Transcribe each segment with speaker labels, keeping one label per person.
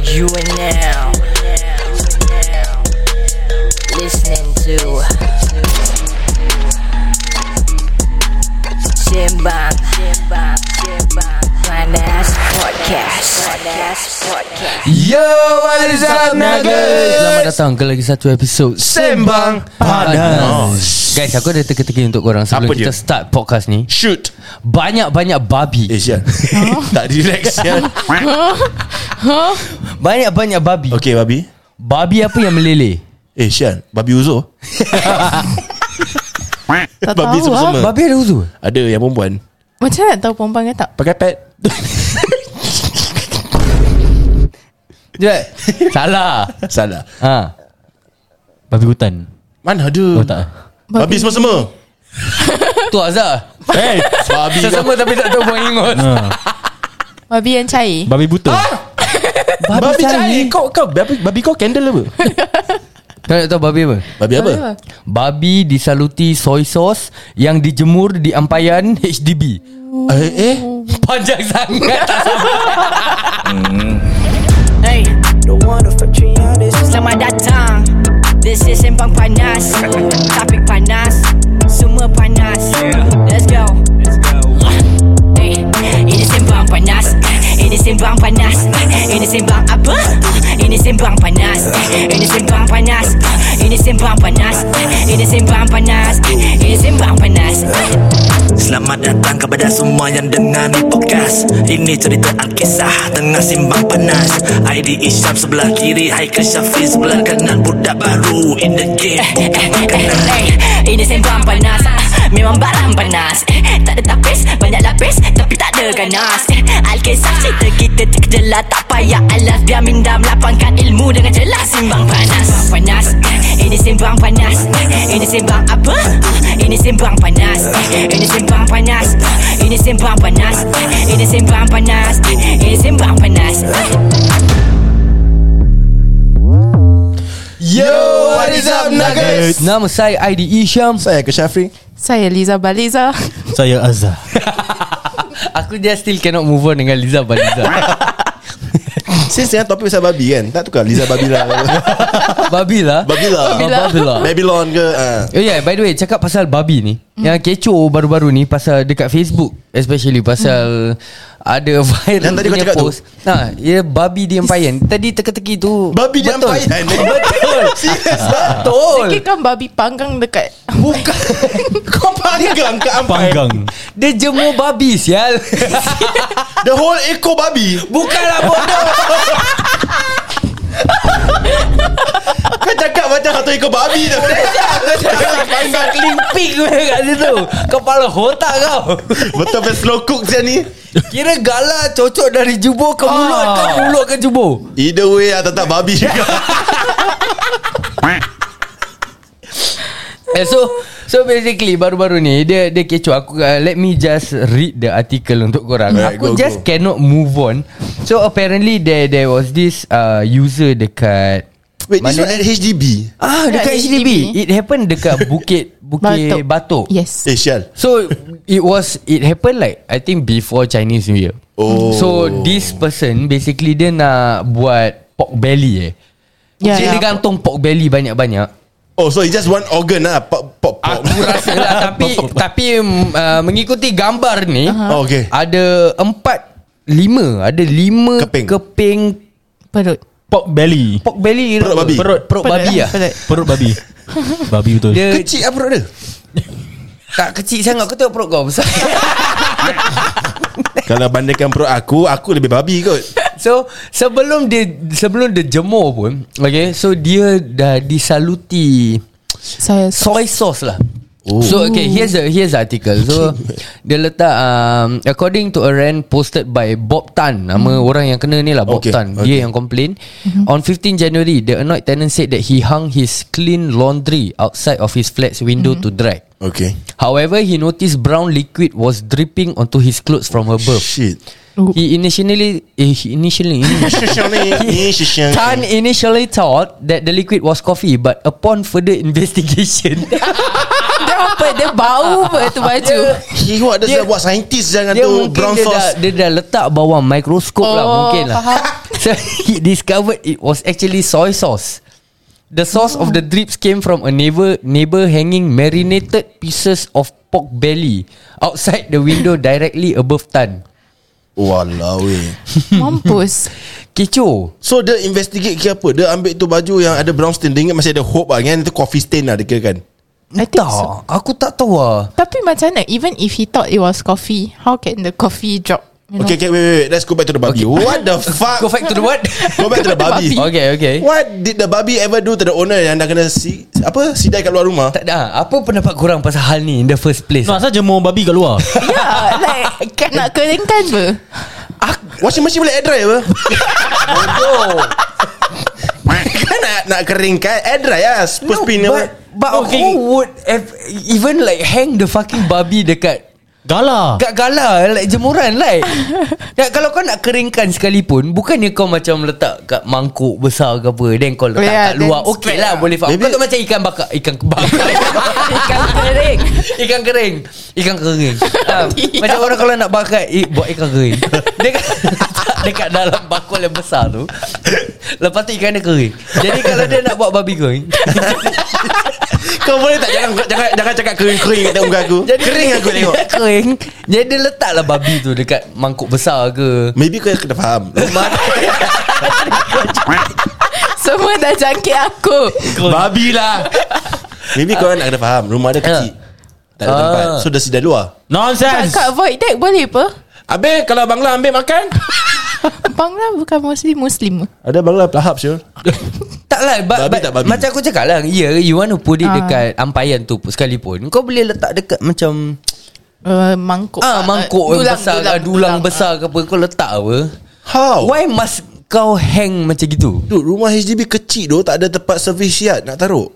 Speaker 1: You are now listening to Simbang Panas Podcast Panas Podcast
Speaker 2: Yo, what is up,
Speaker 3: Naga Selamat
Speaker 2: Nagas?
Speaker 3: datang ke lagi satu episod
Speaker 2: Sembang Panas.
Speaker 3: Guys aku ada teka-teki untuk korang Sebelum
Speaker 2: Apa dia?
Speaker 3: kita start podcast ni
Speaker 2: Shoot.
Speaker 3: Banyak-banyak babi
Speaker 2: Eh, Sian.
Speaker 4: Oh.
Speaker 2: tak relax, Sian.
Speaker 3: Banyak-banyak babi
Speaker 2: Okay, Babi.
Speaker 3: Babi apa yang meleleh?
Speaker 2: Eh, Sian. Babi Uzo.
Speaker 4: Tak
Speaker 2: babi
Speaker 4: tahu
Speaker 2: sama-sama.
Speaker 4: ah.
Speaker 3: Babi ada uzur?
Speaker 2: Ada yang perempuan.
Speaker 4: Macam nak tahu perempuan ke tak
Speaker 2: Pakai pad.
Speaker 3: Jep Salah
Speaker 2: Salah.
Speaker 3: ha. Babi hutan
Speaker 2: Mana ada?
Speaker 3: Oh tak
Speaker 2: Babi semua-semua.
Speaker 3: Tu Azhar
Speaker 2: Eh, babi.
Speaker 3: Sama-sama tapi tak tahu buang ingot
Speaker 4: Babi yang cair
Speaker 5: Babi buta
Speaker 2: Babi cari. Kau, kau, babi, babi kau candle apa?
Speaker 3: Tak nak tahu babi apa?
Speaker 2: Babi apa?
Speaker 3: Babi disaluti soy sauce Yang dijemur di ampayan HDB
Speaker 2: Eh, eh.
Speaker 3: Panjang sangat tak sabar
Speaker 1: Hey Selamat datang This is Sembang Panas Topik panas Semua panas Let's go Hey, Ini Sembang Panas Ini Sembang Panas Ini Sembang apa? Ini Sembang Panas Ini Sembang Panas Ini Sembang Panas Ini Sembang Panas Ini Sembang Panas
Speaker 6: Selamat datang kepada semua yang dengar ni podcast Ini cerita Alkisah tengah simbang panas ID Isyam sebelah kiri Haikal Syafiq sebelah kanan Budak baru in the game bukan makanan
Speaker 1: Eh, Ini sembang panas Ah, Memang barang panas Eh, Tak ada tapis Banyak lapis Tapi tak ada ganas Eh, Alkisah cerita kita terkejelah Tak payah alas Biar minda melapangkan ilmu Dengan jelas Simbang panas Simbang panas Eh, Ini simbang panas Eh, Ini simbang apa? Ah, Ini simbang panas Eh, Ini simbang panas Ah, Ini simbang panas Eh, Ini simbang panas Eh, Ini simbang panas Eh.
Speaker 2: Yo, what is up, Nagas?
Speaker 3: Nama saya E Aidi Isham
Speaker 2: Saya ke Syafri.
Speaker 4: Saya Liza Baliza
Speaker 5: Saya Azhar
Speaker 3: Aku just still cannot move on dengan Liza Baliza
Speaker 2: Since dengan topik pasal babi kan? Tak tukar Liza Babila.
Speaker 3: Babi lah
Speaker 2: babi
Speaker 3: Oh, Babi lah
Speaker 2: Babylon ke? ah.
Speaker 3: Oh yeah, by the way Cakap pasal babi ni
Speaker 2: Hmm.
Speaker 3: mm. Yang kecoh baru-baru ni Pasal dekat Facebook Especially pasal Ada viral
Speaker 2: Hmm. Yang tadi kau
Speaker 3: punya
Speaker 2: cakap tu?
Speaker 3: post ha, Ya babi di empayan Tadi teka-teki tu
Speaker 2: Babi dia
Speaker 3: betul.
Speaker 2: empayan.
Speaker 3: Betul
Speaker 2: Serius
Speaker 3: Betul
Speaker 4: Fikir kan babi panggang dekat
Speaker 2: Bukan Kau panggang ke ampai
Speaker 5: Panggang
Speaker 3: Dia jemur babi sial
Speaker 2: The whole ekor babi
Speaker 3: Bukanlah bodoh
Speaker 2: Kau cakap macam satu ekor babi dah
Speaker 3: Pasal kelimping kau kat situ Kepala otak kau
Speaker 2: Betul betul slow cook macam ni
Speaker 3: Kira gala cocok dari jubur ke mulut Ke mulut ke jubur
Speaker 2: Either way lah tetap babi juga
Speaker 3: Eh, so so basically baru-baru ni dia dia kecoh aku uh, let me just read the article untuk korang.
Speaker 2: Alright, go,
Speaker 3: aku just
Speaker 2: go.
Speaker 3: cannot move on. So apparently there there was this uh, user dekat
Speaker 2: Wait this one at HDB
Speaker 3: ah dekat
Speaker 4: Dekat
Speaker 3: HDB.
Speaker 4: HDB.
Speaker 3: It happened dekat Bukit Bukit Batok. Batok.
Speaker 4: Yes
Speaker 2: Eh Syal
Speaker 3: So it was it happened like I think before Chinese New Year.
Speaker 2: Oh.
Speaker 3: So this person basically dia nak buat pork belly eh. Yeah,
Speaker 4: Ya,
Speaker 3: dia
Speaker 4: ya.
Speaker 3: yeah. gantung pork belly banyak-banyak.
Speaker 2: Oh so it's just one organ lah Pop pop pop
Speaker 3: Aku rasa lah Tapi Tapi mm, uh, Mengikuti gambar ni
Speaker 2: Oh, okay.
Speaker 3: Ada Empat Lima Ada lima
Speaker 2: Keping.
Speaker 3: Keping
Speaker 4: Perut
Speaker 5: Pork belly
Speaker 3: Pork belly
Speaker 2: Perut babi. ya?
Speaker 3: Perut, perut babi lah
Speaker 4: Perut
Speaker 5: Perut babi Babi betul
Speaker 3: Dia
Speaker 2: Kecil lah perut dia
Speaker 3: tak kecil sangat Kau tengok perut kau besar
Speaker 2: Kalau bandingkan perut aku Aku lebih babi kot
Speaker 3: So Sebelum dia Sebelum dia jemur pun Okay So dia Dah disaluti
Speaker 4: Saya
Speaker 3: soy sauce lah. Oh. So okay, here's the here's the article. So dia letak um, according to a rant posted by Bob Tan, nama hmm. orang yang kena ni lah Bob
Speaker 2: Okay,
Speaker 3: okay. Tan. Dia
Speaker 2: okay.
Speaker 3: yang complain. On 15 January, the annoyed tenant said that he hung his clean laundry outside of his flat's window to dry.
Speaker 2: Okay
Speaker 3: However, he noticed brown liquid was dripping onto his clothes from above.
Speaker 2: Shit
Speaker 3: He initially eh, he initially Tan initially thought that the liquid was coffee but upon further investigation
Speaker 4: Dia apa Dia bau apa tu baju
Speaker 2: Hiwak dia, dia buat saintis jangan
Speaker 3: dia
Speaker 2: tu
Speaker 3: mungkin
Speaker 2: Brown
Speaker 3: dia dah,
Speaker 2: sauce
Speaker 3: dia dah letak bawah mikroskop oh, lah
Speaker 4: Oh,
Speaker 3: mungkin lah.
Speaker 4: faham.
Speaker 3: So he discovered it was actually soy sauce. The source of the drips came from a neighbor neighbor hanging marinated pieces of pork belly outside the window directly above Tan.
Speaker 2: Walau eh.
Speaker 4: Mampus
Speaker 3: Kecoh.
Speaker 2: So dia investigate ke apa Dia ambil tu baju yang ada brown stain Dia ingat masih ada hope lah Kan itu coffee stain lah dia kira kan
Speaker 3: Hmm.
Speaker 4: I think
Speaker 3: Tak,
Speaker 4: so.
Speaker 3: Ah, aku tak tahu lah.
Speaker 4: Tapi macam mana Even if he thought it was coffee How can the coffee drop You know
Speaker 2: Okay okay wait, wait, wait. Let's go back to the babi okay. What the fuck
Speaker 3: Go back to the what?
Speaker 2: Go back to the babi
Speaker 3: okay, okay.
Speaker 2: What did the babi ever do to the owner Yang dah kena si, Apa Sidai kat luar rumah
Speaker 3: Tak ada. Apa pendapat korang pasal hal ni in the first place?
Speaker 5: Nak saja mau babi kat luar
Speaker 2: kan?
Speaker 4: Yeah like Nak keringkan ke
Speaker 2: Washing machine boleh air dry apa Kan nak, nak keringkan Air dry lah Spurs no, pin Oh,
Speaker 3: but, but okay. who would have even like hang the fucking babi dekat
Speaker 5: Gala
Speaker 3: Kat gala Like jemuran like nak, Kalau kau nak keringkan sekalipun Bukannya kau macam letak Kat mangkuk besar ke apa Then kau letak yeah,
Speaker 4: Yeah,
Speaker 3: kat luar
Speaker 4: then
Speaker 3: Okay
Speaker 4: spread
Speaker 3: lah
Speaker 4: lah.
Speaker 3: boleh faham
Speaker 2: Maybe-
Speaker 3: Kau tu macam ikan bakar Ikan bakar
Speaker 4: Ikan kering
Speaker 3: Ikan kering Ikan kering ha, Macam orang kalau nak bakar i, Buat ikan kering Dia kan letak Dekat dalam bakul yang besar tu Lepas tu ikan dia kering Jadi kalau dia nak buat babi kering
Speaker 2: Kau boleh tak Jangan jangan, jangan cakap kering-kering Kat muka aku Kering aku tengok
Speaker 3: Kering Jadi dia letaklah babi tu Dekat mangkuk besar ke
Speaker 2: Maybe kau kena faham
Speaker 4: Semua dah jangkit aku
Speaker 2: Babi lah Maybe kau nak kena faham Rumah dia kecil Tak ada
Speaker 3: Ah.
Speaker 2: tempat So dia sidai luar
Speaker 5: Nonsense
Speaker 4: Kat void deck boleh apa
Speaker 2: Habis kalau bangla ambil makan
Speaker 4: Bangla bukan mostly Muslim
Speaker 2: Ada bangla lahap sure
Speaker 3: Tak lah but,
Speaker 2: Babi
Speaker 3: but,
Speaker 2: tak babi?
Speaker 3: Macam aku cakap lah Ya yeah, you want to put it
Speaker 4: Ah.
Speaker 3: dekat Ampayan tu pun sekalipun Kau boleh letak dekat macam
Speaker 4: uh, Mangkuk
Speaker 3: Ah mangkuk dulang, besar Dulang, dulang, dulang besar ke apa Kau letak apa
Speaker 2: How
Speaker 3: Why must kau hang macam gitu
Speaker 2: Dude rumah HDB kecil doh Tak ada tempat servis siat Nak taruh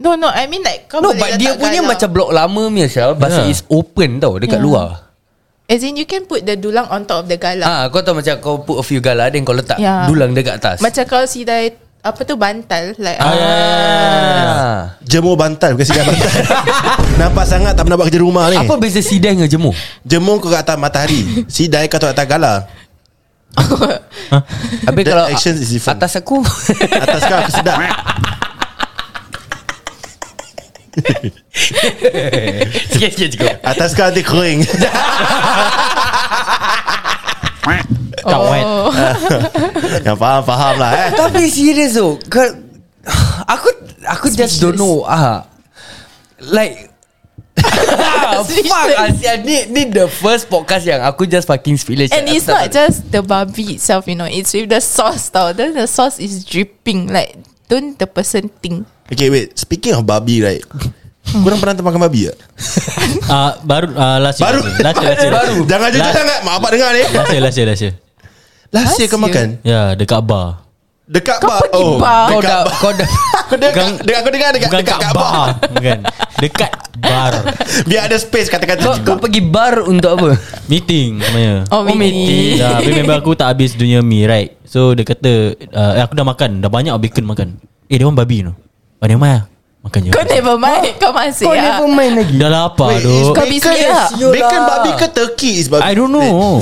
Speaker 4: No no I mean like kau
Speaker 3: No
Speaker 4: boleh
Speaker 3: but dia
Speaker 4: letak
Speaker 3: punya
Speaker 4: galau.
Speaker 3: macam blok lama punya Syal Pasal yeah.
Speaker 5: Yeah.
Speaker 3: is open tau Dekat yeah.
Speaker 4: Yeah.
Speaker 3: luar
Speaker 4: As in you can put the dulang on top of the galang
Speaker 3: Ah, Kau tahu macam kau put a few gala Then kau letak yeah.
Speaker 4: Yeah.
Speaker 3: dulang dekat atas
Speaker 4: Macam kau sidai Apa tu bantal Like
Speaker 3: ah. ya,
Speaker 2: Jemur bantal Bukan sidai bantal Nampak sangat tak pernah buat kerja rumah ni
Speaker 3: Apa beza sidai dengan jemur?
Speaker 2: Jemur kau kat atas matahari Sidai kau kat atas gala
Speaker 3: Habis
Speaker 2: That
Speaker 3: kalau
Speaker 2: action is different.
Speaker 3: atas aku
Speaker 2: Atas kau aku sedap
Speaker 3: Sikit-sikit juga
Speaker 2: Atas kau nanti kering
Speaker 5: Kat wet
Speaker 4: Oh.
Speaker 2: Yang faham-faham lah eh
Speaker 3: Tapi serious tu kau, Aku Aku just don't know ah, Like Ah, Fuck
Speaker 4: Speechless.
Speaker 3: Asian ni, ni the first podcast yang Aku just fucking speechless
Speaker 4: And
Speaker 3: Aku
Speaker 4: it's
Speaker 3: tak
Speaker 4: not
Speaker 3: tahu.
Speaker 4: just the babi itself, you know. It's with the sauce tau. Then the sauce is dripping. Like, don't the person think.
Speaker 2: Okay wait Speaking of babi right Korang pernah makan babi tak?
Speaker 5: Ah, Baru ah, Last year
Speaker 2: Baru.
Speaker 5: Last year last year.
Speaker 3: Baru.
Speaker 2: Jangan jujur
Speaker 5: Lah-
Speaker 2: sangat Mak abang dengar ni
Speaker 5: Last year last year last year
Speaker 2: Last year kau
Speaker 4: Last year.
Speaker 2: makan
Speaker 5: Ya dekat bar
Speaker 2: Dekat
Speaker 4: Kau
Speaker 2: bar Oh,
Speaker 4: pergi bar.
Speaker 3: Kau
Speaker 2: Dekat
Speaker 3: dah
Speaker 2: bar
Speaker 3: Kau dah
Speaker 2: Kau dekat,
Speaker 5: Bukan-
Speaker 2: dekat, kau dengar dekat,
Speaker 5: Bukan
Speaker 2: dekat
Speaker 5: kat
Speaker 2: kat bar.
Speaker 5: bar Bukan Dekat bar
Speaker 2: Biar ada space kata-kata
Speaker 3: kau, kau pergi bar untuk apa?
Speaker 5: Meeting namanya
Speaker 4: Oh,
Speaker 3: meaty.
Speaker 4: meaty.
Speaker 5: Ya, habis member aku tak habis dunia mi right. So dia kata uh, eh, aku dah makan, dah banyak bacon makan. Eh dia orang babi tu. Oh, dia mai makan je.
Speaker 4: Kau never mind. Kau masih.
Speaker 3: Oh, Kau
Speaker 4: ah.
Speaker 3: never mind lagi
Speaker 5: Dah lapar
Speaker 2: Wait,
Speaker 5: tu.
Speaker 2: is
Speaker 4: Kau busy lah.
Speaker 3: you
Speaker 2: Bacon
Speaker 3: lah.
Speaker 2: babi ke turkey is babi
Speaker 5: I don't know.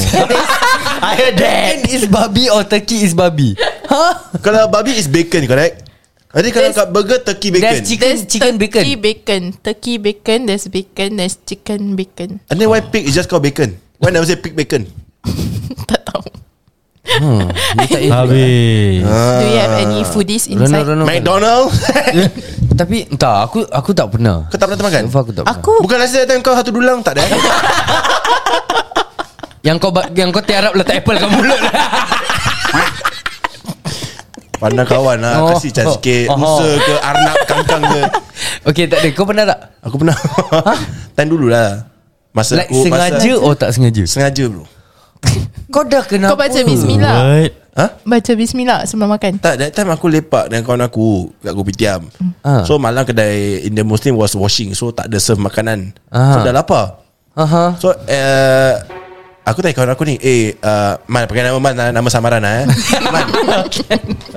Speaker 3: I heard that Is babi or turkey is babi Huh?
Speaker 2: Kalau babi is bacon correct Jadi kalau
Speaker 4: There's-
Speaker 2: kat burger turkey bacon
Speaker 3: There's chicken,
Speaker 4: There's
Speaker 3: chicken bacon
Speaker 4: turkey bacon. Turkey bacon. There's bacon. There's chicken bacon.
Speaker 2: And then why pig is just called bacon Why never say pig bacon
Speaker 4: tak tahu.
Speaker 5: Habis.
Speaker 4: Do you have any
Speaker 3: Ah.
Speaker 4: foodies
Speaker 3: Rono,
Speaker 4: inside?
Speaker 3: Rono, Rono.
Speaker 2: McDonald
Speaker 3: Tapi entah Aku aku tak pernah
Speaker 2: Kau tak pernah makan
Speaker 3: Aku tak pernah
Speaker 4: Aku
Speaker 2: Bukan last time kau satu dulang Tak ada eh?
Speaker 3: Yang kau ba- yang kau tiarap letak apple kat mulut
Speaker 2: Pandang kawan lah
Speaker 3: Oh.
Speaker 2: Kasih chance sikit
Speaker 3: Oh.
Speaker 2: Musa ke Arnab Kangkang ke
Speaker 3: Okay tak ada Kau pernah tak
Speaker 2: Aku pernah Time dulu lah Masa
Speaker 3: Like
Speaker 2: aku
Speaker 3: sengaja
Speaker 2: masa,
Speaker 3: Or tak sengaja
Speaker 2: Sengaja bro
Speaker 3: Kau dah kenapa
Speaker 4: Kau baca bismillah.
Speaker 5: What?
Speaker 4: baca bismillah sebelum makan.
Speaker 2: Tak that time aku lepak Dengan kawan aku Kat Kopitiam
Speaker 3: Ah.
Speaker 2: So malam kedai Indian Muslim was washing So tak ada serve makanan
Speaker 3: Ah.
Speaker 2: So dah lapar
Speaker 3: Aha.
Speaker 2: So uh, Aku tanya kawan aku ni Eh uh, Man pakai nama Man lah, Nama samaran lah eh Man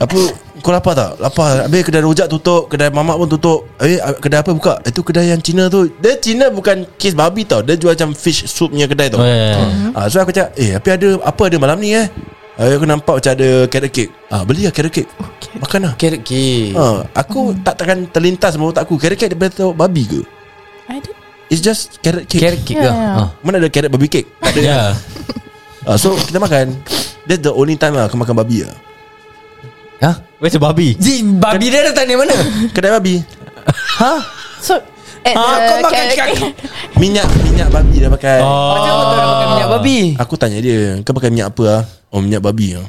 Speaker 2: Apa Kau lapar tak? Lapar Habis kedai rojak tutup Kedai mamak pun tutup Eh kedai apa buka Itu kedai yang Cina tu Dia Cina bukan Kes babi tau Dia jual macam fish soup punya kedai tu
Speaker 5: Oh, ya, ya, ya.
Speaker 2: Ah, So aku cakap Eh tapi ada Apa ada malam ni eh Eh, aku nampak macam ada carrot cake. Ah, beli lah carrot cake. Makan lah.
Speaker 3: Carrot cake
Speaker 2: Ha, aku tak takkan terlintas dalam otak aku. Carrot cake daripada tengok babi ke?
Speaker 4: I don't
Speaker 2: It's just carrot cake.
Speaker 3: Carrot cake
Speaker 4: Yeah.
Speaker 3: lah ha.
Speaker 2: Mana ada carrot babi cake? Tak ada.
Speaker 5: Yeah.
Speaker 2: Ah, so kita makan. That's the only time lah aku makan babi lah.
Speaker 3: ha?
Speaker 5: Where's the babi?
Speaker 3: Ji, babi dia datang dari mana?
Speaker 2: Kedai babi.
Speaker 3: ha?
Speaker 4: So At
Speaker 3: Ah, kau
Speaker 4: the
Speaker 3: makan
Speaker 4: character
Speaker 2: Minyak minyak babi dah pakai.
Speaker 5: Oh.
Speaker 3: Macam mana orang makan minyak babi?
Speaker 2: Aku tanya dia, kau pakai minyak apa ah? Oh, minyak babi ah.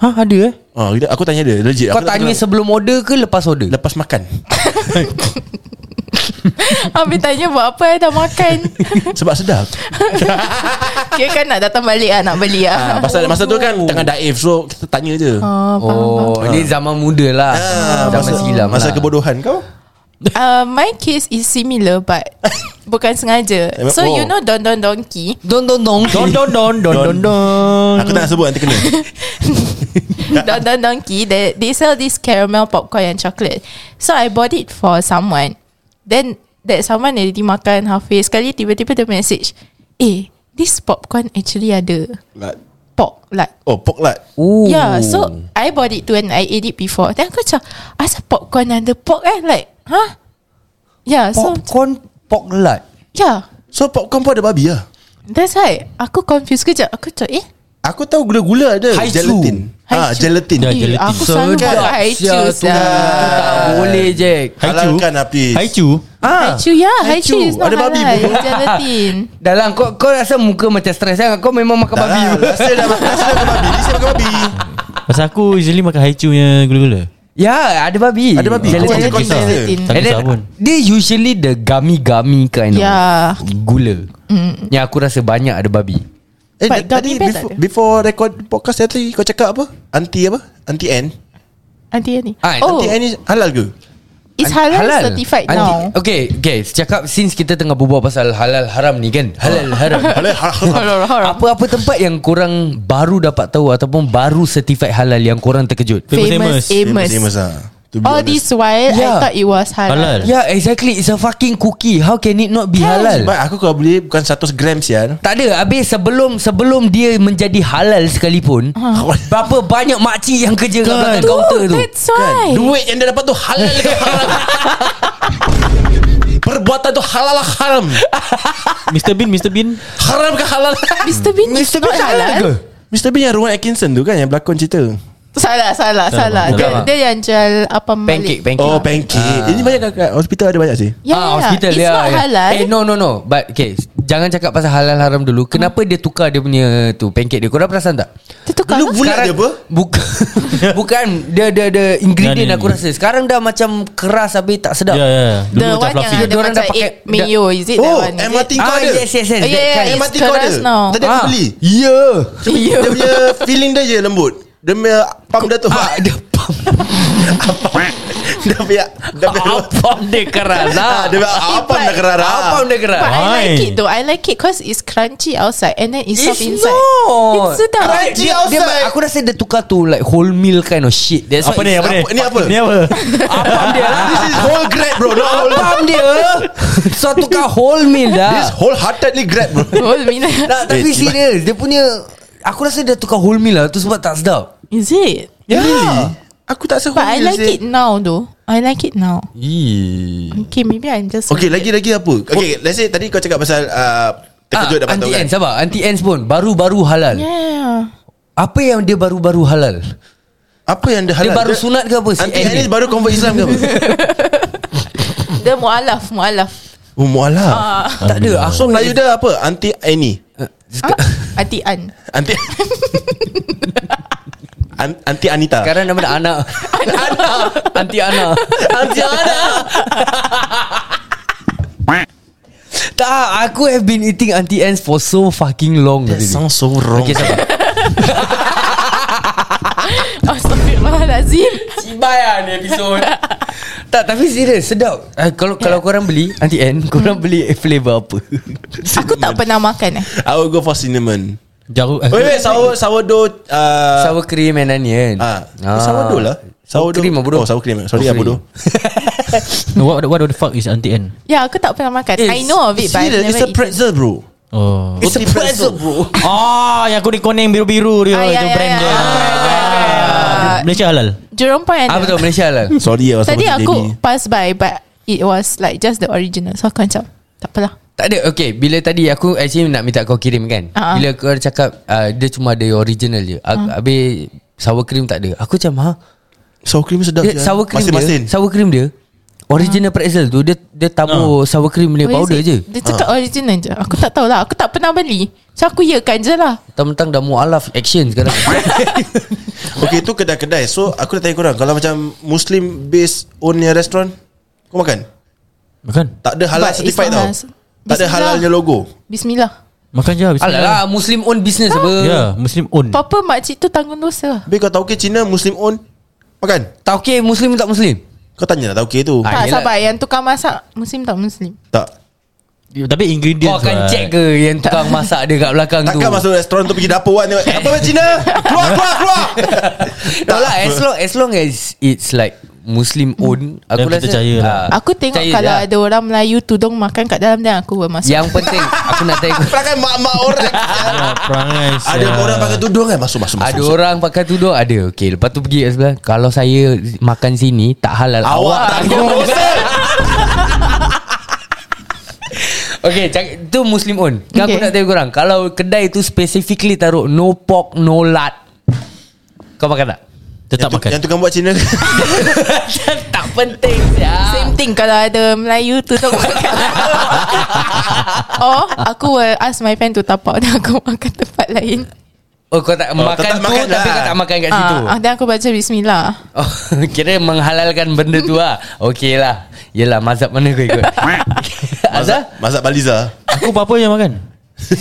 Speaker 5: Ha, ada eh?
Speaker 2: Ah, kita- aku tanya dia legit.
Speaker 3: Kau
Speaker 2: aku tak
Speaker 3: tanya
Speaker 2: kenal.
Speaker 3: sebelum order ke lepas order?
Speaker 2: lepas makan.
Speaker 4: Habis tanya buat apa eh Dah makan
Speaker 2: Sebab sedap.
Speaker 4: Kira kan nak datang balik lah Nak beli
Speaker 2: Ah,
Speaker 4: lah
Speaker 2: pasal masa tu kan tengah daif so kita tanya je.
Speaker 4: Oh,
Speaker 3: Oh,
Speaker 4: faham.
Speaker 3: ni zaman muda lah.
Speaker 2: Ah,
Speaker 3: zaman
Speaker 2: masa,
Speaker 3: silam
Speaker 2: masa
Speaker 3: lah.
Speaker 2: kebodohan kau
Speaker 4: Uh, my case is similar but bukan sengaja. So
Speaker 2: Oh.
Speaker 4: you know Don Don Donkey.
Speaker 3: Don don dong.
Speaker 5: Don don don don don don.
Speaker 2: Aku tak nak sebut nanti kena
Speaker 4: Don Don Donkey they, they sell this caramel popcorn and chocolate. So I bought it for someone. Then that someone already makan halfway sekali tiba-tiba dia message, "Eh, this popcorn actually ada
Speaker 2: Lat.
Speaker 4: pork like
Speaker 2: Oh poklat
Speaker 3: Ooh.
Speaker 4: Yeah, Ya, so I bought it too and I ate it before. Then aku macam, asal popcorn ada pork eh? Like, huh? Yeah, so,
Speaker 3: popcorn pork lat.
Speaker 4: yeah.
Speaker 2: So popcorn pun ada babi lah
Speaker 4: That's why Aku confused kejap Aku macam eh
Speaker 2: Aku tahu gula-gula ada
Speaker 3: Haichu.
Speaker 2: Gelatin ha,
Speaker 4: Haichu.
Speaker 2: Gelatin
Speaker 5: Dah,
Speaker 4: eh,
Speaker 5: gelatin.
Speaker 4: Aku selalu
Speaker 3: Sedap,
Speaker 4: pakai haichu
Speaker 3: sia, tu Tak boleh Jack.
Speaker 2: Halalkan Hafiz
Speaker 5: Haichu.
Speaker 3: Ah.
Speaker 4: Haichu ya Haichu
Speaker 2: Haichu.
Speaker 4: is not
Speaker 2: Ada
Speaker 4: halal
Speaker 2: babi pun.
Speaker 4: It's Gelatin
Speaker 3: Dah lah kau, kau rasa muka macam stres kan? Kau memang makan
Speaker 2: Babi
Speaker 3: babi
Speaker 2: Rasa dah makan Rasa dah makan babi Dia siap makan babi
Speaker 5: Pasal aku usually makan haichu punya gula-gula.
Speaker 3: Ya ada babi
Speaker 2: Ada babi.
Speaker 3: Gelatin,
Speaker 2: Kau macam
Speaker 3: gelatin.
Speaker 2: konsep dia.
Speaker 4: Gelatin
Speaker 5: Tak
Speaker 3: And
Speaker 5: kisah
Speaker 3: then,
Speaker 5: pun.
Speaker 3: Dia usually the gummy-gummy kind
Speaker 4: Yeah.
Speaker 3: of gula mm. Yang aku rasa banyak ada babi
Speaker 2: Eh
Speaker 4: But
Speaker 2: tadi
Speaker 4: gummy bear
Speaker 2: before,
Speaker 4: tak ada.
Speaker 2: before record podcast tadi Kau cakap apa Anti apa Anti N
Speaker 4: Aunty ni
Speaker 3: Ah,
Speaker 4: Oh
Speaker 2: Anti N ni halal ke
Speaker 4: It's
Speaker 3: An-
Speaker 4: halal, certified
Speaker 3: Anti-
Speaker 4: now
Speaker 3: Okay okay Cakap since kita tengah berbual pasal halal haram ni kan Halal haram
Speaker 2: Halal halal
Speaker 4: Halal haram
Speaker 3: Apa-apa tempat yang korang baru dapat tahu Ataupun baru certified halal yang korang terkejut
Speaker 5: Famous,
Speaker 4: Famous
Speaker 2: Same
Speaker 4: Amos
Speaker 2: lah To be
Speaker 4: All
Speaker 2: honest.
Speaker 4: this while
Speaker 3: Yeah.
Speaker 4: I thought it was
Speaker 5: Halal.
Speaker 4: halal
Speaker 3: Yeah Ya, exactly It's a fucking cookie How can it not be halal
Speaker 2: Sebab aku kalau beli Bukan 100 gram sian
Speaker 3: Tak ada Habis sebelum Sebelum dia menjadi halal sekalipun Berapa banyak makcik yang kerja kat belakang
Speaker 4: Tu,
Speaker 3: kaunter tu
Speaker 4: Uh-huh. That's why
Speaker 2: Duit yang dia dapat tu halal ke haram Perbuatan tu halal lah haram
Speaker 5: Mr Bean, Mr Bean.
Speaker 2: Haram ke halal
Speaker 4: Mr. Bean is not halal
Speaker 2: Mr. Bean yang Rowan Atkinson tu kan Yang berlakon cerita
Speaker 4: Salah salah salah
Speaker 3: bukan.
Speaker 4: Dia- Dia yang jual apa
Speaker 3: Pancake
Speaker 4: Malik
Speaker 3: pancake
Speaker 2: Oh pancake Ya, Ini banyak kat, kat hospital ada banyak sih
Speaker 3: Ah,
Speaker 4: Yeah, yeah. It's
Speaker 3: yeah,
Speaker 4: not
Speaker 3: yeah.
Speaker 4: halal.
Speaker 3: Eh no no no But okay Jangan cakap pasal halal haram dulu Kenapa dia tukar dia punya tu Pancake dia Korang perasan tak?
Speaker 4: Dia tukar
Speaker 2: Dulu
Speaker 4: lah.
Speaker 2: bulat dia apa
Speaker 3: Bukan Bukan Dia ada ada ingredient
Speaker 5: Nah, ni,
Speaker 3: aku
Speaker 5: ni.
Speaker 3: rasa Sekarang dah macam keras Habis tak sedap
Speaker 5: Ya, ya. Dulu
Speaker 4: The
Speaker 5: macam
Speaker 4: one
Speaker 5: fluffy.
Speaker 4: yang ada
Speaker 3: Dia orang
Speaker 4: macam
Speaker 3: dah pakai-
Speaker 4: egg mayo Is it that
Speaker 2: Oh
Speaker 4: one? Is it?
Speaker 2: MRT kau
Speaker 3: Ah
Speaker 2: ada
Speaker 3: yes yes yes
Speaker 4: Oh, yeah,
Speaker 3: that
Speaker 4: yeah,
Speaker 3: kind.
Speaker 4: yeah.
Speaker 2: MRT kau ada
Speaker 4: keras now.
Speaker 2: Tadi aku
Speaker 3: Ah.
Speaker 2: beli
Speaker 3: Ya
Speaker 2: Dia punya feeling dia je lembut Dia punya Pam dia tu
Speaker 3: Ah, Dia pam
Speaker 2: Dia punya Dia punya
Speaker 3: Apam dia
Speaker 2: Ah,
Speaker 3: keras lah
Speaker 2: Dia punya Apa
Speaker 4: But-
Speaker 2: dia keras
Speaker 3: Apam dia keras
Speaker 4: But I like
Speaker 5: Why?
Speaker 4: it though. I like it because it's crunchy outside and then it's, soft
Speaker 3: It's
Speaker 4: inside.
Speaker 3: not
Speaker 4: It's sedap.
Speaker 2: Crunchy
Speaker 3: dia, dia,
Speaker 2: outside.
Speaker 3: Aku rasa dia tukar tu Like whole meal kind of shit That's
Speaker 5: Apa
Speaker 3: why
Speaker 5: ni?
Speaker 3: it's-
Speaker 5: Apa ni?
Speaker 2: apa- ni apa?
Speaker 5: Ni apa?
Speaker 3: Apam dia lah
Speaker 2: This is whole grab bro Not whole
Speaker 3: Apam dia So tukar whole meal
Speaker 2: This
Speaker 3: dah
Speaker 2: wholeheartedly grab bro
Speaker 4: Oh, Mina.
Speaker 3: Tak, tapi
Speaker 2: Eh, tiba-
Speaker 3: serius Dia punya Aku rasa dia tukar whole meal lah Tu sebab tak sedap
Speaker 4: Is it?
Speaker 2: Yeah. Aku tak rasa
Speaker 4: But I
Speaker 2: hormel
Speaker 4: like
Speaker 2: sih.
Speaker 4: it now though. I like it now.
Speaker 3: Eee.
Speaker 4: Okay, maybe I'm just.
Speaker 2: Okay lagi-lagi apa Okay let's say Tadi kau cakap pasal uh, Terkejut dapat tahu
Speaker 3: Auntie
Speaker 2: kan
Speaker 3: Ah, Anne sabar Auntie Anne pun Baru-baru halal
Speaker 4: Ya. Yeah.
Speaker 3: Apa yang dia baru-baru halal
Speaker 2: Apa yang dia halal
Speaker 3: Dia baru sunat ke apa si
Speaker 2: Auntie
Speaker 3: Anne
Speaker 2: Anne ni
Speaker 3: ni?
Speaker 2: baru convert Islam ke apa
Speaker 4: The mualaf, mualaf.
Speaker 2: Oh
Speaker 4: Ah,
Speaker 2: mualah
Speaker 3: Tak ada ah. aku,
Speaker 2: So Melayu dia apa Auntie Annie
Speaker 4: Huh? Auntie An.
Speaker 2: Auntie An- Auntie Anita
Speaker 3: Sekarang nama dia Ana Ana Auntie Ana Auntie Ana Tak Aku have been eating Auntie Anne's For so fucking long
Speaker 2: That
Speaker 3: already.
Speaker 2: sounds so wrong
Speaker 3: Okay sabar
Speaker 4: Oh, Astagfirullahalazim.
Speaker 2: lah
Speaker 3: Cibayan episode Tak tapi serius Sedap uh, Kalau kalau korang beli Auntie Anne
Speaker 2: Hmm.
Speaker 3: Korang beli flavor apa
Speaker 4: Aku tak pernah makan eh.
Speaker 2: I will go for cinnamon
Speaker 5: Jarum.
Speaker 2: Wait wait sour, Sourdough uh,
Speaker 3: Sour cream and onion
Speaker 2: Ah, ah. Sourdough lah Sourdough
Speaker 3: Cream lah
Speaker 2: Oh
Speaker 3: bodoh
Speaker 2: sour cream Sorry lah bodoh
Speaker 5: No, what, what the fuck is anti N?
Speaker 3: Eh,
Speaker 4: Yeah, Ya, aku tak pernah makan. I know of it, Oh, but
Speaker 2: Serious,
Speaker 4: I've never
Speaker 2: It's a
Speaker 4: eaten.
Speaker 2: pretzel bro
Speaker 5: Oh.
Speaker 2: It's a present bro
Speaker 5: Oh, yang kuning-kuning biru-biru dia.
Speaker 4: Ah, ya,
Speaker 5: itu
Speaker 4: ya,
Speaker 5: brand
Speaker 4: ya.
Speaker 5: dia.
Speaker 4: Ah,
Speaker 5: Ah, Malaysia halal.
Speaker 4: Jurong Point
Speaker 3: Ah
Speaker 4: ada
Speaker 3: betul Malaysia lah
Speaker 2: Sorry lah pasal
Speaker 4: Tadi
Speaker 2: Daily.
Speaker 4: aku pass by But it was like Just the original So aku macam Takpelah
Speaker 3: Tak ada Okay bila tadi aku Actually nak minta kau kirim kan
Speaker 4: Ah, ah.
Speaker 3: Bila kau cakap uh, Dia cuma ada yang original je
Speaker 4: Ha.
Speaker 3: Aku- Habis Sour cream tak ada Aku macam ha
Speaker 2: Sour cream sedap
Speaker 5: ya,
Speaker 3: dia, Sour cream
Speaker 2: Masin-masin
Speaker 3: dia Sour cream dia Original pretzel tu Dia dia tabur
Speaker 5: Ha.
Speaker 3: sour cream punya
Speaker 4: What
Speaker 3: Eh, powder
Speaker 4: Ha. Oh, is
Speaker 3: je Ah.
Speaker 4: it? Dia cakap original je Aku tak tahulah Aku tak pernah beli So aku yekan je lah
Speaker 3: Tentang dah mualaf action sekarang
Speaker 2: Okay tu kedai-kedai So aku nak tanya korang Kalau macam Muslim based Ownnya restaurant Kau makan?
Speaker 5: Makan.
Speaker 2: Tak ada halal
Speaker 4: But it's
Speaker 2: certified
Speaker 4: not
Speaker 2: tau
Speaker 4: halal.
Speaker 2: Tak ada
Speaker 4: Bismillah.
Speaker 2: halalnya logo
Speaker 4: Bismillah
Speaker 3: Hmm.
Speaker 5: Makan je habis.
Speaker 3: Alah lah Muslim own business apa
Speaker 5: Ya, yeah, Muslim own.
Speaker 4: Papa makcik tu tanggung dosa
Speaker 2: Tapi kau tahu ke Cina Muslim own Makan
Speaker 3: Tak okay Muslim tak Muslim
Speaker 2: Kau tanya lah tahu ke tu
Speaker 3: Ah,
Speaker 4: Tak
Speaker 3: yelah.
Speaker 4: sabar Yang tukang masak Muslim tak muslim
Speaker 2: Tak
Speaker 5: Ya, Tapi lah. ingredient.
Speaker 3: Kau akan check ke Yang tukang masak dia kat belakang tu
Speaker 2: Takkan masuk restoran tu pergi dapur kan tengok, eh, Apa macam Cina Keluar keluar keluar
Speaker 3: Tak lah as long, as long as It's like Muslim own Aku
Speaker 5: Dan kita
Speaker 3: rasa
Speaker 5: percaya lah.
Speaker 3: ah,
Speaker 4: Aku tengok
Speaker 3: percaya
Speaker 4: kalau
Speaker 3: lah. Ya.
Speaker 4: ada orang Melayu tudung makan kat dalam dan aku bermasuk.
Speaker 3: Yang penting Aku nak tanya kau,
Speaker 2: Perangai mak-mak orang
Speaker 5: Ah, perangai.
Speaker 2: Ada
Speaker 5: sial.
Speaker 2: orang pakai tudung kan Masuk masuk masuk
Speaker 3: Ada
Speaker 2: masuk.
Speaker 3: orang pakai tudung Ada Okay lepas tu pergi kat sebelah Kalau saya makan sini Tak halal
Speaker 2: Awak tanggung dosa
Speaker 3: Okay cak, Tu Muslim own okay. Aku
Speaker 4: Okay.
Speaker 3: nak tanya korang Kalau kedai tu Specifically taruh No pork no lard Kau makan tak? Ya,
Speaker 5: Tetap
Speaker 2: Yang tu-
Speaker 5: makan.
Speaker 2: Yang tukang buat Cina
Speaker 3: tak penting ya.
Speaker 4: Same thing kalau ada Melayu tudung makan. Or aku will ask my friend to tapau dan aku makan tempat lain.
Speaker 3: Oh kau tak
Speaker 2: Oh,
Speaker 3: makan
Speaker 2: tetap makan
Speaker 3: tu makan Tapi
Speaker 2: lah.
Speaker 3: kau tak makan kat situ
Speaker 4: Ah, ah, dan aku baca bismillah.
Speaker 3: Oh, kira menghalalkan benda tu lah Okey lah Yelah mazhab mana kau ikut Azhar
Speaker 2: Masak Baliza
Speaker 5: Aku apa-apa yang makan.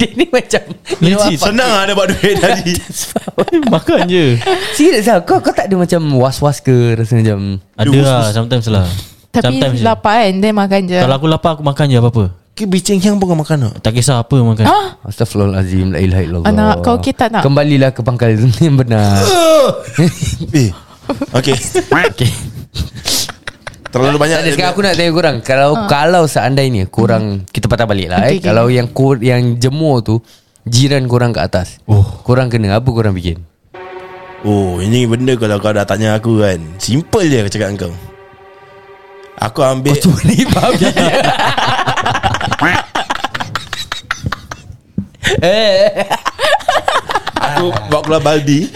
Speaker 3: Dia ni macam you know
Speaker 5: Legit,
Speaker 3: apa?
Speaker 2: Senang lah dia buat duit tadi
Speaker 5: makan je.
Speaker 3: Serius lah kau, kau tak ada macam was-was ke Rasa macam
Speaker 5: Ada lah sometimes lah.
Speaker 4: Tapi
Speaker 5: sometimes je.
Speaker 4: lapar kan Then makan je
Speaker 5: Kalau aku lapar aku makan je apa-apa.
Speaker 2: Ke bicing yang pun kau makan tak?
Speaker 5: Tak kisah apa makan.
Speaker 4: Hah?
Speaker 3: Astaghfirullahalazim La ilaha illallah
Speaker 4: Anak, kau okey tak nak?
Speaker 3: Kembalilah ke pangkal yang benar
Speaker 2: Eh Okay Terlalu banyak
Speaker 3: Tak ada sekarang aku nak tanya korang Kalau
Speaker 4: Ha.
Speaker 3: kalau seandainya
Speaker 4: Hmm.
Speaker 3: Korang Kita patah balik lah eh.
Speaker 4: Okay, okay.
Speaker 3: Kalau yang kor, yang jemur tu Jiran korang kat atas oh. Korang kena Apa korang bikin
Speaker 2: Oh ini benda kalau kau dah tanya aku kan Simple je aku cakap dengan kau Aku ambil
Speaker 3: Tu ni babi Eh,
Speaker 2: Aku bawa keluar baldi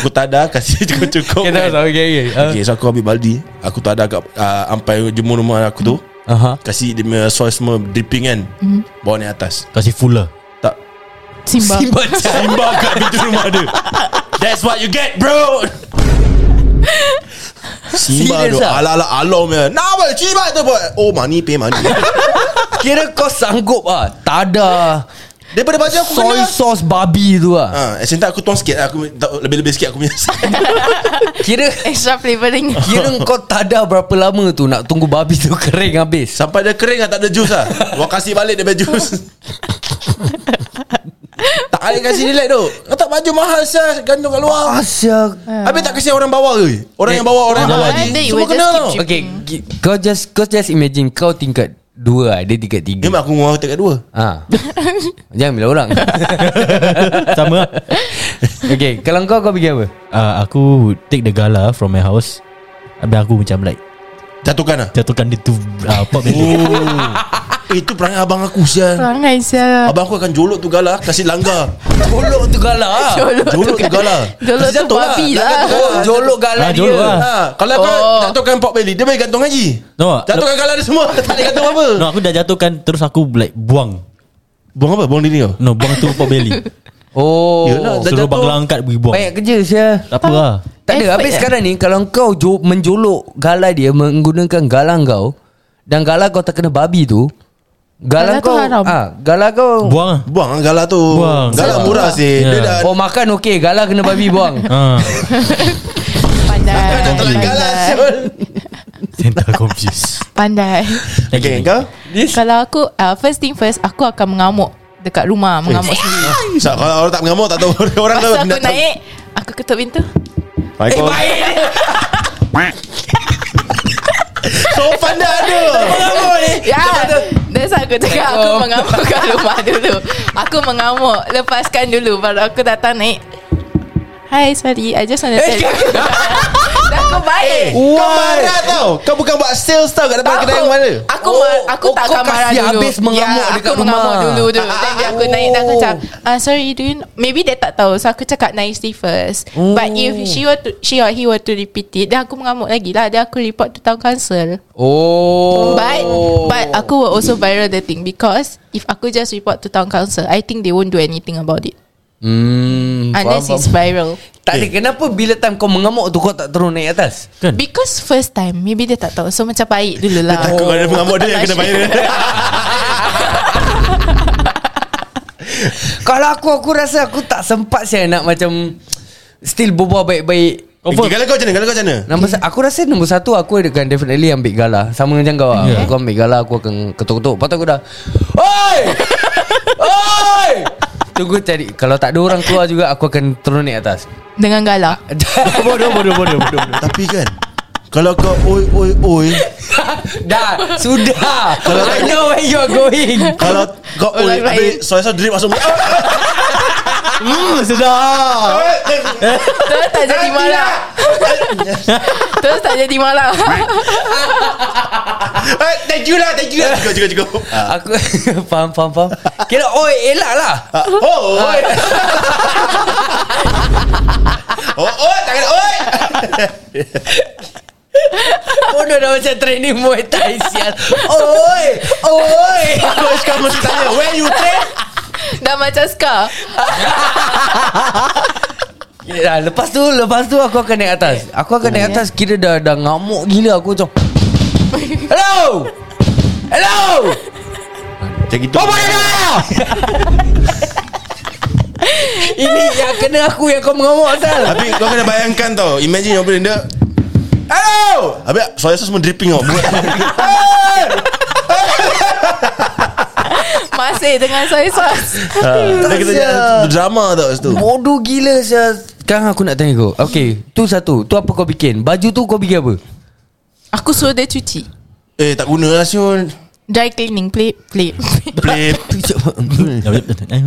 Speaker 2: Aku tadah Kasih cukup-cukup
Speaker 3: kita
Speaker 2: kan.
Speaker 3: tahu okay, okay. Uh,
Speaker 2: Okay so aku ambil baldi Aku tadah kat uh, Ampai jemur rumah aku tu
Speaker 3: Aha.
Speaker 2: Kasih dia punya soy semua dripping kan
Speaker 3: Mhm.
Speaker 2: Bawa ni atas
Speaker 5: Kasih full lah.
Speaker 2: Tak
Speaker 4: Simba, Simba.
Speaker 2: Simba kat pintu rumah dia That's what you get bro Simba
Speaker 3: Serious
Speaker 2: tu
Speaker 3: ah?
Speaker 2: Ala-ala alom ya Nama Simba tu buat Oh money pay money
Speaker 3: Kira kau sanggup ah Tada
Speaker 2: Daripada baju aku
Speaker 3: Soy
Speaker 2: kena
Speaker 3: sauce babi tu ah
Speaker 2: Ha, as in tak aku tuang sikit aku tak- lebih-lebih sikit aku punya.
Speaker 3: Kira
Speaker 4: Extra flavouring
Speaker 3: Kira kau tada berapa lama tu Nak tunggu babi tu kering habis
Speaker 2: Sampai dia kering lah tak ada jus lah. Gua kasih balik dia punya jus. tak ada kasih relax tu. Kau tak baju mahal sah gantung kat luar.
Speaker 3: Asyik
Speaker 2: Habis tak kasihan orang bawa ke? Orang yang bawa orang Eh,
Speaker 4: Ah,
Speaker 2: yang bawa
Speaker 4: then
Speaker 2: ni.
Speaker 4: you
Speaker 2: Semua
Speaker 4: will just
Speaker 2: kena
Speaker 4: keep
Speaker 2: tau.
Speaker 4: cheap.
Speaker 3: Okay ki- Kau just Kau just imagine Kau tingkat Dua lah Dia tingkat
Speaker 2: Ni
Speaker 3: tiga
Speaker 2: mak aku ngurang kat dua.
Speaker 3: ha. Jangan bila orang
Speaker 5: Sama lah.
Speaker 3: Okay Kalau kau kau pergi apa
Speaker 5: uh, Aku would take the gala from my house Habis aku macam like
Speaker 2: Jatuhkan lah.
Speaker 5: Jatuhkan dia tu uh, Pop dia
Speaker 2: Oh. Itu perangai abang aku sial.
Speaker 4: Perangai sial
Speaker 2: Abang aku akan jolok tu galah kasih langgar.
Speaker 3: Jolok tu galah
Speaker 2: Jolok tu galah.
Speaker 4: Jolok
Speaker 2: Kasih
Speaker 4: tu
Speaker 2: jatuh
Speaker 4: babi lah.
Speaker 2: Jatuh lah.
Speaker 3: Jolok galah
Speaker 5: Ah,
Speaker 3: dia
Speaker 5: jolok lah.
Speaker 2: Ha, kalau kau
Speaker 4: Oh.
Speaker 2: jatuhkan pot belly Dia boleh gantung haji
Speaker 5: No,
Speaker 2: Jatuhkan galah dia semua Tak ada gantung apa
Speaker 5: No aku dah jatuhkan Terus aku like buang
Speaker 2: Buang apa? Buang diri kau?
Speaker 5: No buang tu pop belly
Speaker 3: Oh
Speaker 2: Yelah, dah
Speaker 5: Ya lah, Suruh
Speaker 2: jatuh.
Speaker 5: bagla angkat pergi buang
Speaker 3: Banyak kerja saya
Speaker 5: Tak apa lah
Speaker 3: Tak
Speaker 4: Effort
Speaker 3: ada Habis
Speaker 4: eh.
Speaker 3: sekarang ni Kalau kau jo- menjolok Gala dia Menggunakan gala kau Dan gala kau terkena babi tu Gala,
Speaker 4: Gala tu
Speaker 3: kau
Speaker 4: haram.
Speaker 3: ah, Gala kau
Speaker 5: Buang lah
Speaker 2: Buang galah tu
Speaker 5: Buang.
Speaker 2: Galah murah sih Dia
Speaker 5: Ya.
Speaker 2: dah
Speaker 3: Oh makan okey Gala kena babi buang
Speaker 5: Ah,
Speaker 4: Pandai
Speaker 2: Dah telan lah. galah
Speaker 4: Pandai,
Speaker 2: Syul
Speaker 5: Senta confused
Speaker 4: pandai.
Speaker 2: Okay kau
Speaker 4: Kalau aku uh, First thing first Aku akan mengamuk Dekat rumah Mengamuk sendiri
Speaker 2: so, Kalau orang tak mengamuk Tak tahu Orang tahu
Speaker 4: Masa aku
Speaker 2: Kan nak tahu.
Speaker 4: naik Aku ketuk pintu
Speaker 2: Baik
Speaker 5: Eh,
Speaker 2: kau So fun dah ada
Speaker 5: eh.
Speaker 4: Ya yeah. Dia Biasa aku cakap Aku mengamuk kat rumah dulu Aku mengamuk Lepaskan dulu Baru aku datang naik Hi sorry I just want to tell you Dah aku baik
Speaker 2: Kau marah tau Kau bukan buat sales tau Kat depan
Speaker 4: Tak,
Speaker 2: kedai
Speaker 4: aku-
Speaker 2: yang mana
Speaker 4: Aku
Speaker 3: Oh,
Speaker 4: ma- aku
Speaker 3: oh,
Speaker 4: tak
Speaker 3: kau
Speaker 4: akan marah
Speaker 3: kasi
Speaker 4: dulu. Ya,
Speaker 3: habis mengamuk
Speaker 4: aku
Speaker 3: dekat
Speaker 4: mengamuk
Speaker 3: rumah. Ah,
Speaker 4: dulu dulu. Then dia aku naik dan aku
Speaker 2: Oh.
Speaker 4: cakap, ah, sorry, do you know? maybe dia tak tahu. So aku cakap nicely first. But
Speaker 2: Oh.
Speaker 4: if she were to, she or he were to repeat it, then aku mengamuk lagi lah. Then aku report to town council.
Speaker 3: Oh
Speaker 4: But but aku will also viral the thing because if aku just report to town council, I think they won't do anything about it
Speaker 3: hmm,
Speaker 4: unless
Speaker 3: faham,
Speaker 4: it's
Speaker 3: faham.
Speaker 4: viral.
Speaker 3: Tak ada kenapa bila time kau mengamuk tu kau tak terus naik atas
Speaker 5: Kan?
Speaker 4: Because first time Maybe dia tak tahu So macam baik dulu lah
Speaker 2: Ah. Takut ada mengamuk dia yang kena viral
Speaker 3: Kalau aku aku rasa aku tak sempat saya nak macam Still berbual baik-baik
Speaker 2: Okay, Kalau kau macam mana Kalau kau macam mana
Speaker 3: Nombor sa- aku rasa nombor satu aku akan definitely ambil gala. Sama macam kau lah.
Speaker 2: Ya.
Speaker 5: Yeah.
Speaker 3: Aku ambil gala aku akan ketuk-ketuk. Lepas tu aku dah Oi! Oi! Tunggu cari Kalau tak ada orang keluar juga Aku akan turun naik atas
Speaker 4: Dengan galak
Speaker 3: Bodoh bodoh bodoh bodoh
Speaker 2: Tapi kan Kalau kau oi oi oi
Speaker 3: Dah Sudah
Speaker 2: Kalau-
Speaker 3: I know where you're going
Speaker 2: Kalau kau oi
Speaker 4: Orang lain.
Speaker 2: Habis soya sauce drip masuk mulut
Speaker 5: Hmm, sedap.
Speaker 4: Terus tak jadi malah
Speaker 3: lah.
Speaker 4: Terus tak jadi malah
Speaker 2: Ah, Thank you lah Thank you lah Cukup cukup cukup Ah.
Speaker 3: Aku Faham faham faham Kira oi elak lah
Speaker 2: Ah, Oh oi Oh oi Tangan oi
Speaker 3: Bodoh dah macam training Muay Thai sial Oi Oi
Speaker 2: Coach kau mesti tanya Where you train
Speaker 4: Dah macam Ska
Speaker 3: Ya, lepas tu Lepas tu aku akan naik atas Aku akan
Speaker 2: Oh.
Speaker 3: naik atas Kira dah, dah ngamuk gila Aku macam Hello Hello
Speaker 2: Macam gitu
Speaker 3: Kau boleh tak Ini yang kena aku Yang kau mengamuk asal
Speaker 2: Habis kau kena bayangkan tau Imagine apa benda Hello Habis soya sauce semua dripping tau Mulut.
Speaker 4: Masih dengan soy sauce
Speaker 2: Ah, Dah kita jadi drama tau situ
Speaker 3: Bodoh gila saya Sekarang aku nak tanya kau Okay Tu satu Tu apa kau bikin Baju tu kau bikin apa
Speaker 4: Aku suruh dia cuci
Speaker 2: Eh tak guna lah Syul
Speaker 4: Dry cleaning Play Play
Speaker 2: Play
Speaker 5: Ya, Eh,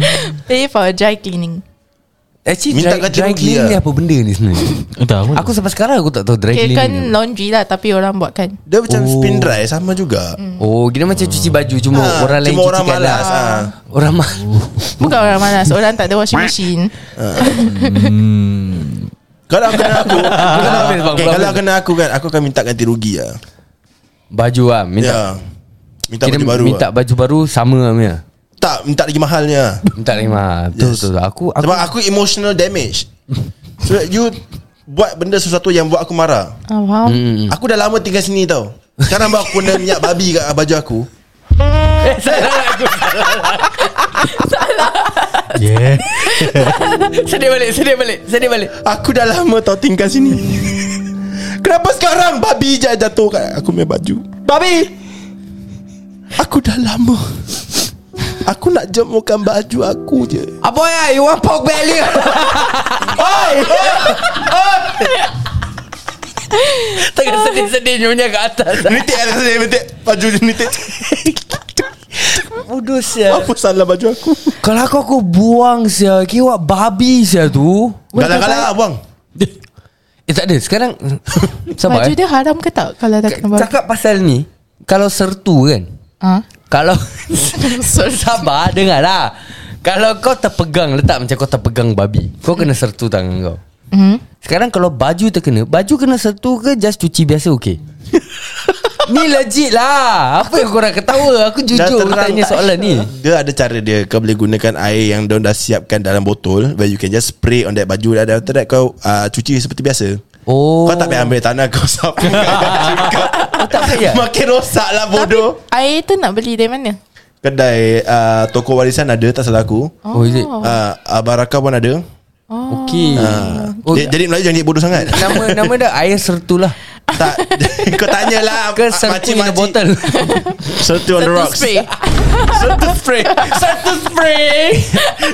Speaker 4: Play for dry cleaning
Speaker 3: Actually
Speaker 2: Minta
Speaker 3: Minta dry,
Speaker 2: ganti
Speaker 3: dry
Speaker 2: rugi
Speaker 3: cleaning
Speaker 2: lah.
Speaker 3: ni apa benda ni sebenarnya
Speaker 5: Entah aku.
Speaker 3: Aku sampai sekarang aku tak tahu dry
Speaker 4: Okay
Speaker 3: cleaning
Speaker 4: kan
Speaker 3: ni apa.
Speaker 4: laundry lah Tapi orang buat kan
Speaker 2: Dia macam
Speaker 3: Oh.
Speaker 2: spin dry Sama juga
Speaker 3: Oh kira macam cuci baju Cuma
Speaker 2: Ah,
Speaker 3: orang lain
Speaker 2: cuma
Speaker 3: cucikan
Speaker 2: orang malas,
Speaker 3: lah
Speaker 2: ah.
Speaker 3: Orang malas
Speaker 4: Bukan orang malas Orang tak ada
Speaker 3: Hmm.
Speaker 4: washing machine
Speaker 2: Kalau kena aku Ah.
Speaker 3: Belum habis, bang,
Speaker 2: okay,
Speaker 3: belum
Speaker 2: Kalau
Speaker 3: habis.
Speaker 2: kena aku kan Aku akan minta ganti rugi lah
Speaker 3: Baju lah Minta
Speaker 2: Ya Minta baju baru
Speaker 3: minta
Speaker 2: lah.
Speaker 3: baju baru sama lah punya.
Speaker 2: Tak minta lagi mahalnya
Speaker 3: Minta lagi mah. Betul
Speaker 2: Yes.
Speaker 3: betul. betul. Aku aku
Speaker 2: Sebab aku emotional damage So you Buat benda sesuatu yang buat aku marah
Speaker 4: Ah, Faham
Speaker 2: hmm. Aku dah lama tinggal sini tau Sekarang baru aku guna minyak babi kat baju aku
Speaker 5: Yeah.
Speaker 3: sedih balik, sedih balik, sedih balik.
Speaker 2: Aku dah lama tau tinggal sini Kenapa sekarang babi je jatuh kat aku punya baju Babi Aku dah lama Aku nak jemukan baju aku je
Speaker 3: Apa ya? You want pork belly?
Speaker 2: Oi!
Speaker 3: Tengah sedih-sedih nyonya kat atas.
Speaker 2: Menitik atas dia menitik Baju dia menitik
Speaker 3: Bodoh sia.
Speaker 2: Apa salah baju aku
Speaker 3: Kalau aku aku buang sia, kira babi sia tu.
Speaker 2: Galak-galak abang
Speaker 3: Eh tak ada. Sekarang sabar.
Speaker 4: Baju
Speaker 3: eh.
Speaker 4: dia haram ke tak Kalau dah kena bawa
Speaker 3: Cakap pasal ni, kalau sertu kan.
Speaker 4: Ah,
Speaker 3: Kalau sabar dengarlah. Kalau kau terpegang letak macam kau terpegang babi, kau kena sertu tangan kau.
Speaker 4: Mhm.
Speaker 3: Sekarang kalau baju terkena Baju kena satu ke Just cuci biasa okey Ni legit lah Apa yang korang ketawa Aku
Speaker 2: Dah
Speaker 3: jujur
Speaker 2: terang
Speaker 3: tanya
Speaker 2: tak?
Speaker 3: soalan ni
Speaker 2: Dia ada cara dia Kau boleh gunakan air yang Diorang dah siapkan dalam botol Where you can just spray on that baju Dan after that kau uh, Cuci seperti biasa
Speaker 3: Oh Oh,
Speaker 2: Kau tak payah ambil tanah Kau sapu kat baju kau.
Speaker 3: tak payah?
Speaker 2: Makin rosak lah bodoh
Speaker 4: Air tu nak beli dari mana
Speaker 2: Kedai uh, Toko warisan ada Tak salah aku
Speaker 3: Oh is it
Speaker 2: uh, Abaraka pun ada
Speaker 3: Okay
Speaker 2: oh,
Speaker 3: oh,
Speaker 2: Jadi Melayu jangan jadi bodoh sangat
Speaker 3: Nama nama dia Air sertu lah
Speaker 2: Tak Kau tanyalah
Speaker 3: Ke sertu in a bottle
Speaker 2: Sertu on the
Speaker 4: Satu
Speaker 2: rocks
Speaker 4: spray
Speaker 2: Sertu spray Sertu spray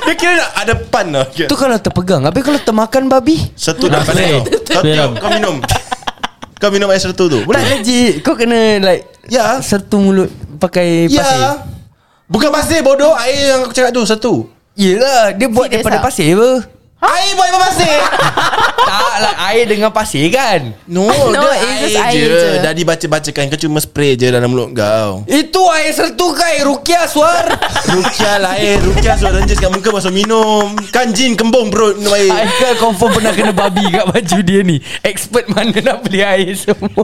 Speaker 2: Dia kira nak ada pan lah
Speaker 3: Tu kalau terpegang Habis kalau termakan babi
Speaker 2: Sertu dah
Speaker 5: Spray.
Speaker 2: pandai kau Kau
Speaker 5: Spray
Speaker 2: tiup
Speaker 5: lah.
Speaker 2: Kau minum Kau minum air sertu tu
Speaker 3: Tak
Speaker 2: Boleh
Speaker 3: legit Kau kena like
Speaker 2: Ya
Speaker 3: Sertu mulut Pakai
Speaker 2: Ya
Speaker 3: pasir
Speaker 2: Bukan pasir bodoh Air yang aku cakap tu Satu
Speaker 3: Yelah Dia buat
Speaker 4: Serious
Speaker 3: daripada
Speaker 4: ah?
Speaker 3: pasir apa
Speaker 2: Air buat daripada pasir
Speaker 3: Tak lah Air dengan pasir kan
Speaker 2: No,
Speaker 4: No,
Speaker 2: no Dia
Speaker 4: it's
Speaker 2: air,
Speaker 4: just air
Speaker 2: je.
Speaker 4: je.
Speaker 2: Dah dibaca-bacakan Kau cuma spray je dalam mulut kau
Speaker 3: Itu air sertukai Rukia suar
Speaker 2: Rukia lain Rukia suara renjes kat muka Pasal minum Kan jin kembung bro Minum air
Speaker 3: Aikal confirm pernah kena babi kat baju dia ni Expert mana nak beli air semua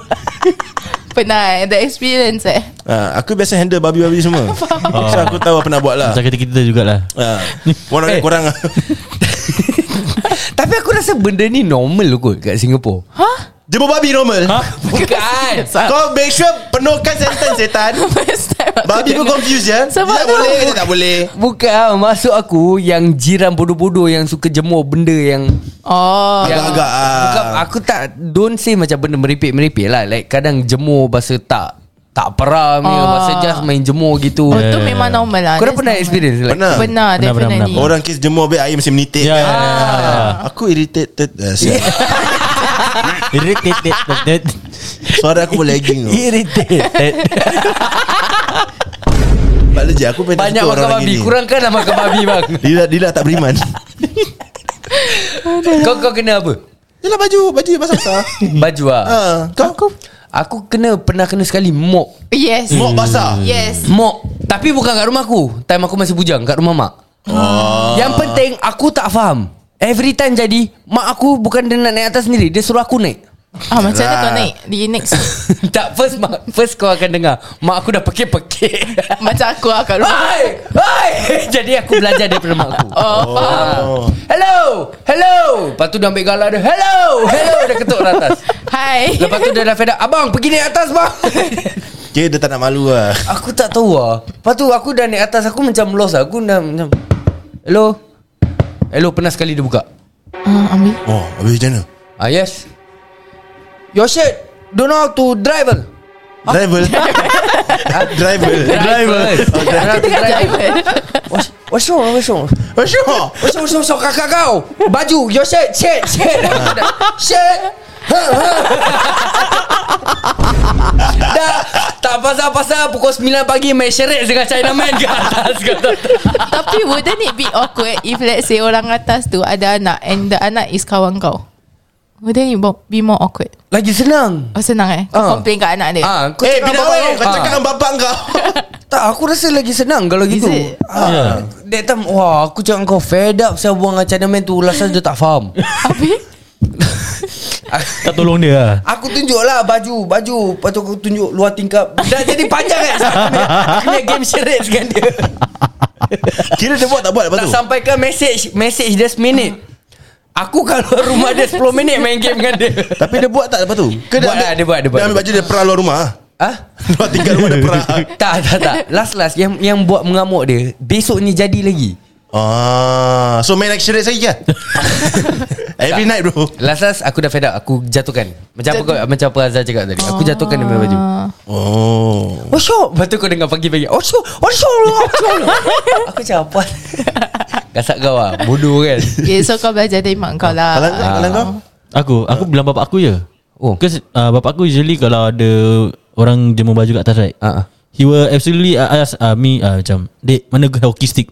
Speaker 4: Pernah eh, The experience eh
Speaker 2: ha, Aku biasa handle babi-babi semua So aku tahu apa nak buat lah
Speaker 5: Macam kita-kita jugalah
Speaker 2: ha, Orang
Speaker 3: Eh.
Speaker 2: korang
Speaker 3: Tapi aku rasa benda ni normal kot kat Singapura
Speaker 2: Jemur babi normal ha?
Speaker 3: Bukan
Speaker 2: Kau make sure penuhkan sentence setan
Speaker 4: First time aku
Speaker 2: Babi pun
Speaker 4: dengar.
Speaker 2: confused je
Speaker 4: Sebab
Speaker 2: Dia tak
Speaker 4: tu-
Speaker 2: boleh Dia tak boleh
Speaker 3: Bukan ah, Maksud aku Yang jiran bodoh-bodoh Yang suka jemur benda yang
Speaker 4: Oh
Speaker 3: yang-
Speaker 2: Agak-agak ah.
Speaker 3: Bukan Aku tak Don't say macam benda meripik-meripik lah Like kadang jemur Bahasa tak Tak peram oh. ya,
Speaker 4: Ah.
Speaker 3: Bahasa just main jemur gitu
Speaker 4: Oh tu memang normal lah
Speaker 3: Korang
Speaker 4: That's
Speaker 3: pernah
Speaker 4: normal.
Speaker 3: experience like,
Speaker 2: Pernah
Speaker 4: Pernah
Speaker 5: Pernah, pernah,
Speaker 4: definitely
Speaker 5: pernah.
Speaker 2: Orang kes jemur Habis air mesti menitik
Speaker 5: Ya, ya,
Speaker 2: yeah.
Speaker 5: ya, ya, ya.
Speaker 2: Aku irritated uh,
Speaker 5: ya.
Speaker 3: Ah.
Speaker 5: Irritated Irritated
Speaker 2: Suara aku boleh lagging tu
Speaker 5: Irritated
Speaker 2: But legit Aku pengen
Speaker 3: Banyak
Speaker 2: suka
Speaker 3: makan
Speaker 2: orang
Speaker 3: babi
Speaker 2: gini
Speaker 3: Kurangkanlah makan babi bang
Speaker 2: Lila, Lila tak beriman
Speaker 3: Kau kau kena apa?
Speaker 2: Yelah baju Baju yang basah-basah
Speaker 3: Baju lah
Speaker 2: ha, Kau aku
Speaker 3: Aku kena Pernah kena sekali mop
Speaker 4: Yes
Speaker 2: Mok basah
Speaker 4: Yes
Speaker 3: Mop Tapi bukan kat rumah aku Time aku masih bujang Kat rumah mak
Speaker 2: Ah.
Speaker 3: oh. Yang penting Aku tak faham Every time jadi Mak aku bukan dia nak naik atas sendiri Dia suruh aku naik
Speaker 4: Ah Macam mana kau naik Di next
Speaker 3: Tak first mak, First kau akan dengar Mak aku dah pekik-pekik
Speaker 4: Macam aku lah kat rumah
Speaker 3: Hai Hai Jadi aku belajar daripada mak aku
Speaker 4: Oh,
Speaker 3: faham Hello Hello Lepas tu dia ambil galak dia Hello Hello Dia ketuk ke atas
Speaker 4: Hai
Speaker 3: Lepas tu dia dah fed up Abang pergi naik atas bang
Speaker 2: Okay dia tak nak malu lah
Speaker 3: Aku tak tahu lah Lepas tu aku dah naik atas Aku macam lost lah Aku dah macam Hello Hello pernah sekali dia buka
Speaker 4: Ah, Ambil
Speaker 2: Oh habis macam mana
Speaker 3: Ah yes Your shirt Don't know how to drive well.
Speaker 2: Driver
Speaker 3: Ah,
Speaker 2: Driver Driver
Speaker 3: Oh, driver.
Speaker 4: Aku tengah driver
Speaker 3: What's, what's wrong? ah? What's
Speaker 2: Oh sure
Speaker 3: wrong? What's wrong? What's wrong? What's wrong? Kakak kau Baju Your shirt Shirt Shirt Shirt Ha, ha. Dah Tak pasal-pasal Pukul 9 pagi Main syarat dengan Chinaman Ke atas kata.
Speaker 4: Tapi wouldn't it be awkward If let's say orang atas tu Ada anak And the anak is kawan kau Wouldn't it bo- be more awkward
Speaker 3: Lagi senang
Speaker 4: Oh senang eh
Speaker 3: Ah.
Speaker 4: Kau complain kat anak dia
Speaker 3: Ah, kau
Speaker 2: Eh
Speaker 3: cakap
Speaker 2: bina
Speaker 3: apa
Speaker 2: weh Kau
Speaker 3: Ah.
Speaker 2: cakap dengan bapak kau
Speaker 3: Tak aku rasa lagi senang Kalau
Speaker 4: Is
Speaker 3: gitu
Speaker 4: it?
Speaker 3: ah, yeah. That time Wah aku cakap dengan kau Fed up Saya buang dengan Chinaman tu Ulasan dia tak faham
Speaker 4: Habis
Speaker 5: Tak tolong dia lah
Speaker 3: Aku tunjuk lah baju Baju Lepas tu aku tunjuk luar tingkap Dah jadi panjang kan Aku punya- aku punya game charades dengan dia
Speaker 2: Kira dia buat tak buat lepas
Speaker 3: Tak
Speaker 2: tu
Speaker 3: sampaikan message Message dia seminit Aku kalau rumah dia 10 minit main game dengan dia
Speaker 2: Tapi dia buat tak lepas tu Ke
Speaker 3: Buat lah, dia buat, dia buat,
Speaker 2: Dia ambil
Speaker 3: dia
Speaker 2: baju dia perah luar rumah
Speaker 3: Ha?
Speaker 2: Luar tinggal rumah dia perah
Speaker 3: Tak tak tak Last last Yang yang buat mengamuk dia Besok ni jadi lagi
Speaker 2: Ah, So main action rate lagi kan Every night bro
Speaker 3: Last last aku dah fed up Aku jatuhkan Macam apa, kau, macam apa Azhar cakap tadi Aku jatuhkan dia punya baju
Speaker 2: Oh
Speaker 3: Oh syok Lepas tu kau dengar pagi-pagi Oh syok Oh syok Oh syok Aku cakap apa Kasat kau lah Bodoh kan
Speaker 4: Okay so kau belajar dari mak kau lah
Speaker 2: Kalau kau
Speaker 3: Ah.
Speaker 2: Kalau kau
Speaker 5: Aku Aku bilang bapak aku je
Speaker 3: Oh.
Speaker 5: Oh Because uh, bapak aku usually Kalau ada Orang jemur baju kat atas right
Speaker 3: Ah, ah.
Speaker 5: He will absolutely uh, ask uh, me uh, Macam Dek mana hockey stick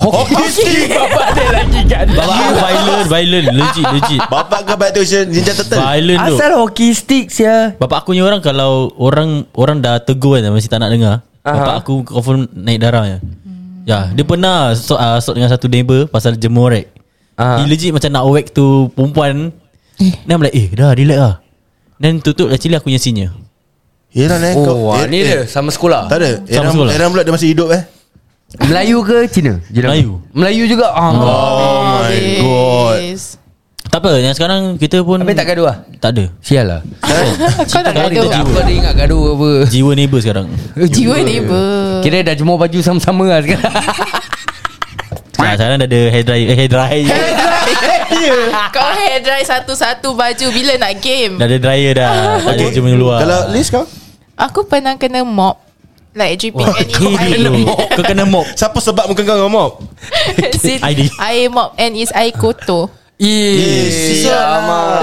Speaker 3: Hockey, stick Bapak dia lagi kan
Speaker 5: Bapak aku violent Violent Legit legit
Speaker 2: Bapak kau baik tu Ninja Turtle
Speaker 5: Violent tu
Speaker 3: Asal hockey stick ya.
Speaker 5: Bapak aku ni orang Kalau orang Orang dah tegur kan Masih tak nak dengar
Speaker 3: Aha.
Speaker 5: Bapak aku confirm naik darah je Ya Dia pernah so, uh, Sort dengan satu neighbor Pasal jemur right
Speaker 3: Aha.
Speaker 5: He legit macam nak whack tu Perempuan Then I'm like Eh dah relax lah Then tutup actually aku punya senior
Speaker 2: Yelah eh
Speaker 3: Oh, wah, ni dia sama sekolah.
Speaker 2: Tak ada
Speaker 5: Sama
Speaker 2: Eram,
Speaker 5: sekolah.
Speaker 2: Eram pula dia masih hidup eh
Speaker 3: Melayu ke Cina? Jiran
Speaker 5: Melayu.
Speaker 3: kau. Melayu juga. Ah.
Speaker 2: Oh my god
Speaker 4: Yes.
Speaker 5: Tak apa Yang sekarang kita pun
Speaker 3: Habis tak gaduh lah?
Speaker 5: Tak ada
Speaker 3: Sial lah.
Speaker 4: Kau nak
Speaker 5: Sorry,
Speaker 4: gaduh
Speaker 5: tak
Speaker 3: Aku ada ingat gaduh apa.
Speaker 5: Jiwa neighbor sekarang
Speaker 4: lah Jiwa neighbor
Speaker 3: Kira dah jemur baju sama-sama lah sekarang.
Speaker 5: nah, Ah, Sekarang dah ada hair dryer eh, Hair dryer
Speaker 4: Kau hair dry satu-satu baju Bila nak game
Speaker 5: Dah ada dryer dah Tak ada jemur luar
Speaker 2: Kalau Liz kau
Speaker 4: Aku pernah kena mop Like dripping
Speaker 5: Wah,
Speaker 4: and
Speaker 5: kau
Speaker 4: air
Speaker 5: kena mop. Kau kena mop
Speaker 2: Siapa sebab muka kau dengan mop
Speaker 4: Sit-
Speaker 5: ID.
Speaker 4: Air mop And it's air kotor
Speaker 3: Yes.
Speaker 4: So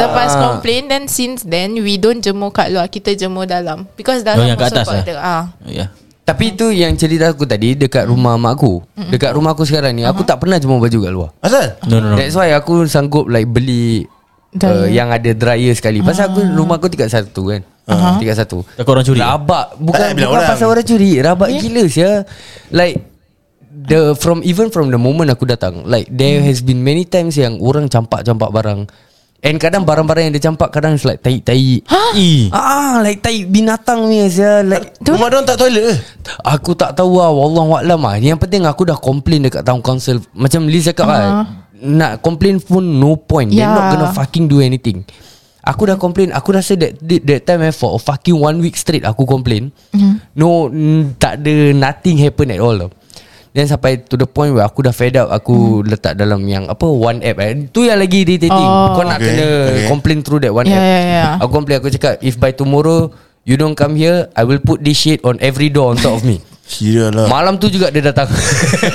Speaker 4: Lepas
Speaker 5: Ah.
Speaker 4: complain Then since then We don't jemur kat luar Kita jemur dalam Because dalam
Speaker 5: Oh, yang kat
Speaker 4: also
Speaker 5: atas
Speaker 4: got
Speaker 5: lah?
Speaker 4: the, ah.
Speaker 5: Ya
Speaker 3: Tapi tu yang cerita aku tadi Dekat rumah mak aku Dekat rumah aku sekarang ni Aku tak pernah jumpa baju kat luar
Speaker 2: Asal?
Speaker 5: No no no
Speaker 3: That's why aku sanggup like beli uh,
Speaker 4: Dryer.
Speaker 3: Yang ada dryer sekali Pasal aku rumah aku tingkat satu kan uh-huh. Tingkat satu
Speaker 5: Takut orang curi.
Speaker 3: Rabak
Speaker 2: Tak,
Speaker 3: Bukan,
Speaker 2: bila
Speaker 3: bukan
Speaker 2: orang.
Speaker 3: pasal orang curi Rabak yeah. gila sia Like The from even from the moment aku datang Like there has been many times Yang orang campak-campak barang And kadang barang-barang yang dia campak Kadang is like tai-tai
Speaker 5: I
Speaker 3: Ah, like tai binatang ni sia like
Speaker 2: Rumah diorang tak toilet ke?
Speaker 3: Aku tak tahu lah Wallahualam lah Yang penting aku dah complain Dekat town council Macam Liz cakap lah Nak complain pun no point yeah. They're not
Speaker 4: Yeah.
Speaker 3: gonna fucking do anything Aku dah complain Aku rasa that that, that time eh, For a fucking one week straight Aku complain mm. No mm, Tak ada Nothing happen at all tau. Then sampai to the point Where aku dah fed up Aku hmm. letak dalam yang Apa One app eh. Tu yang lagi irritating oh. Kau nak
Speaker 2: Okay,
Speaker 3: okay. kena
Speaker 2: okay.
Speaker 3: okay. Complain through that one
Speaker 4: Yeah,
Speaker 3: app
Speaker 4: yeah, yeah.
Speaker 3: Aku complain aku cakap If by tomorrow You don't come here I will put this shit On every door on top of me
Speaker 2: Kira lah
Speaker 3: Malam tu juga dia datang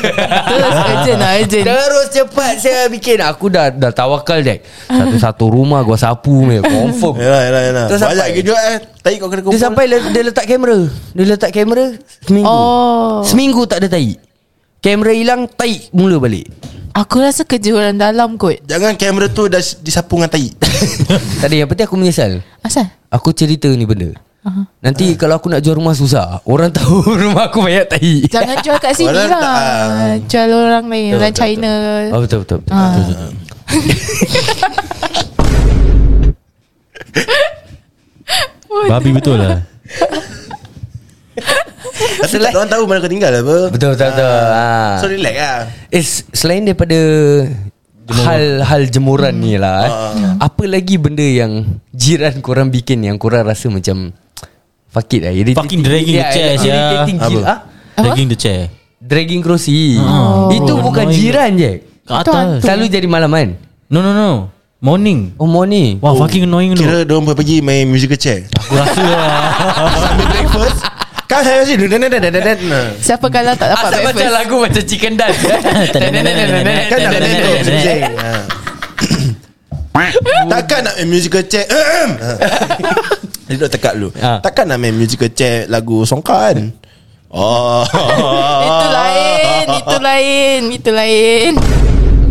Speaker 4: Terus urgent lah urgent
Speaker 3: Terus cepat saya bikin Aku dah dah tawakal Jack Satu-satu rumah gua sapu meh, Confirm
Speaker 2: Yalah yalah yalah
Speaker 3: Terus
Speaker 2: Banyak
Speaker 3: Oh. sampai-
Speaker 2: ke juga eh Tai kau kena kumpul
Speaker 3: Dia sampai le- dia letak kamera Dia letak kamera Seminggu
Speaker 4: Oh.
Speaker 3: Seminggu tak ada tai Kamera hilang Tai mula balik
Speaker 4: Aku rasa kerja orang dalam kot
Speaker 2: Jangan kamera tu dah s- disapu dengan tai
Speaker 3: Tak ada yang penting aku menyesal
Speaker 4: Asal?
Speaker 3: Aku cerita ni benda Nanti kalau aku nak jual rumah susah Orang tahu rumah aku banyak tai
Speaker 4: Jangan jual kat sini
Speaker 2: Orang
Speaker 4: lah
Speaker 2: tak, ah.
Speaker 4: Jual orang lain Orang China
Speaker 3: Oh betul betul, betul.
Speaker 4: Ah.
Speaker 5: Babi betul lah
Speaker 2: Tapi tak orang tahu mana kau tinggal apa
Speaker 3: Betul betul betul ah.
Speaker 2: So relax lah
Speaker 3: Is Eh, selain daripada hal-hal jemuran ni lah eh,
Speaker 5: Ah.
Speaker 3: apa lagi benda yang jiran korang bikin yang korang rasa macam fuck it lah irritating.
Speaker 5: Fucking dragging the
Speaker 3: Yeah,
Speaker 5: chair
Speaker 3: irritating
Speaker 5: sia.
Speaker 3: gila.
Speaker 2: Apa?
Speaker 3: Ah,
Speaker 5: Dragging the chair
Speaker 3: dragging kerusi
Speaker 5: Ah.
Speaker 3: itu
Speaker 5: Oh,
Speaker 3: bukan
Speaker 5: annoying.
Speaker 3: jiran je
Speaker 5: Kat atas
Speaker 3: selalu jadi malam kan
Speaker 5: No no no Morning
Speaker 3: oh morning
Speaker 5: Wah fucking annoying tu
Speaker 2: Kira diorang pergi main musical chair
Speaker 5: Aku rasa lah
Speaker 2: Sambil breakfast Kan, Kau saya sih
Speaker 4: Siapa kalau tak dapat
Speaker 3: Asal macam
Speaker 4: breakfast
Speaker 3: lagu macam chicken dance eh?
Speaker 2: Kan nak main musical chair Ah. Takkan nak main musical chair Ah. Dia duduk tekak dulu
Speaker 3: Ah.
Speaker 2: Takkan nak main musical chair Lagu songka kan Oh
Speaker 4: Itu lain Itu lain Itu lain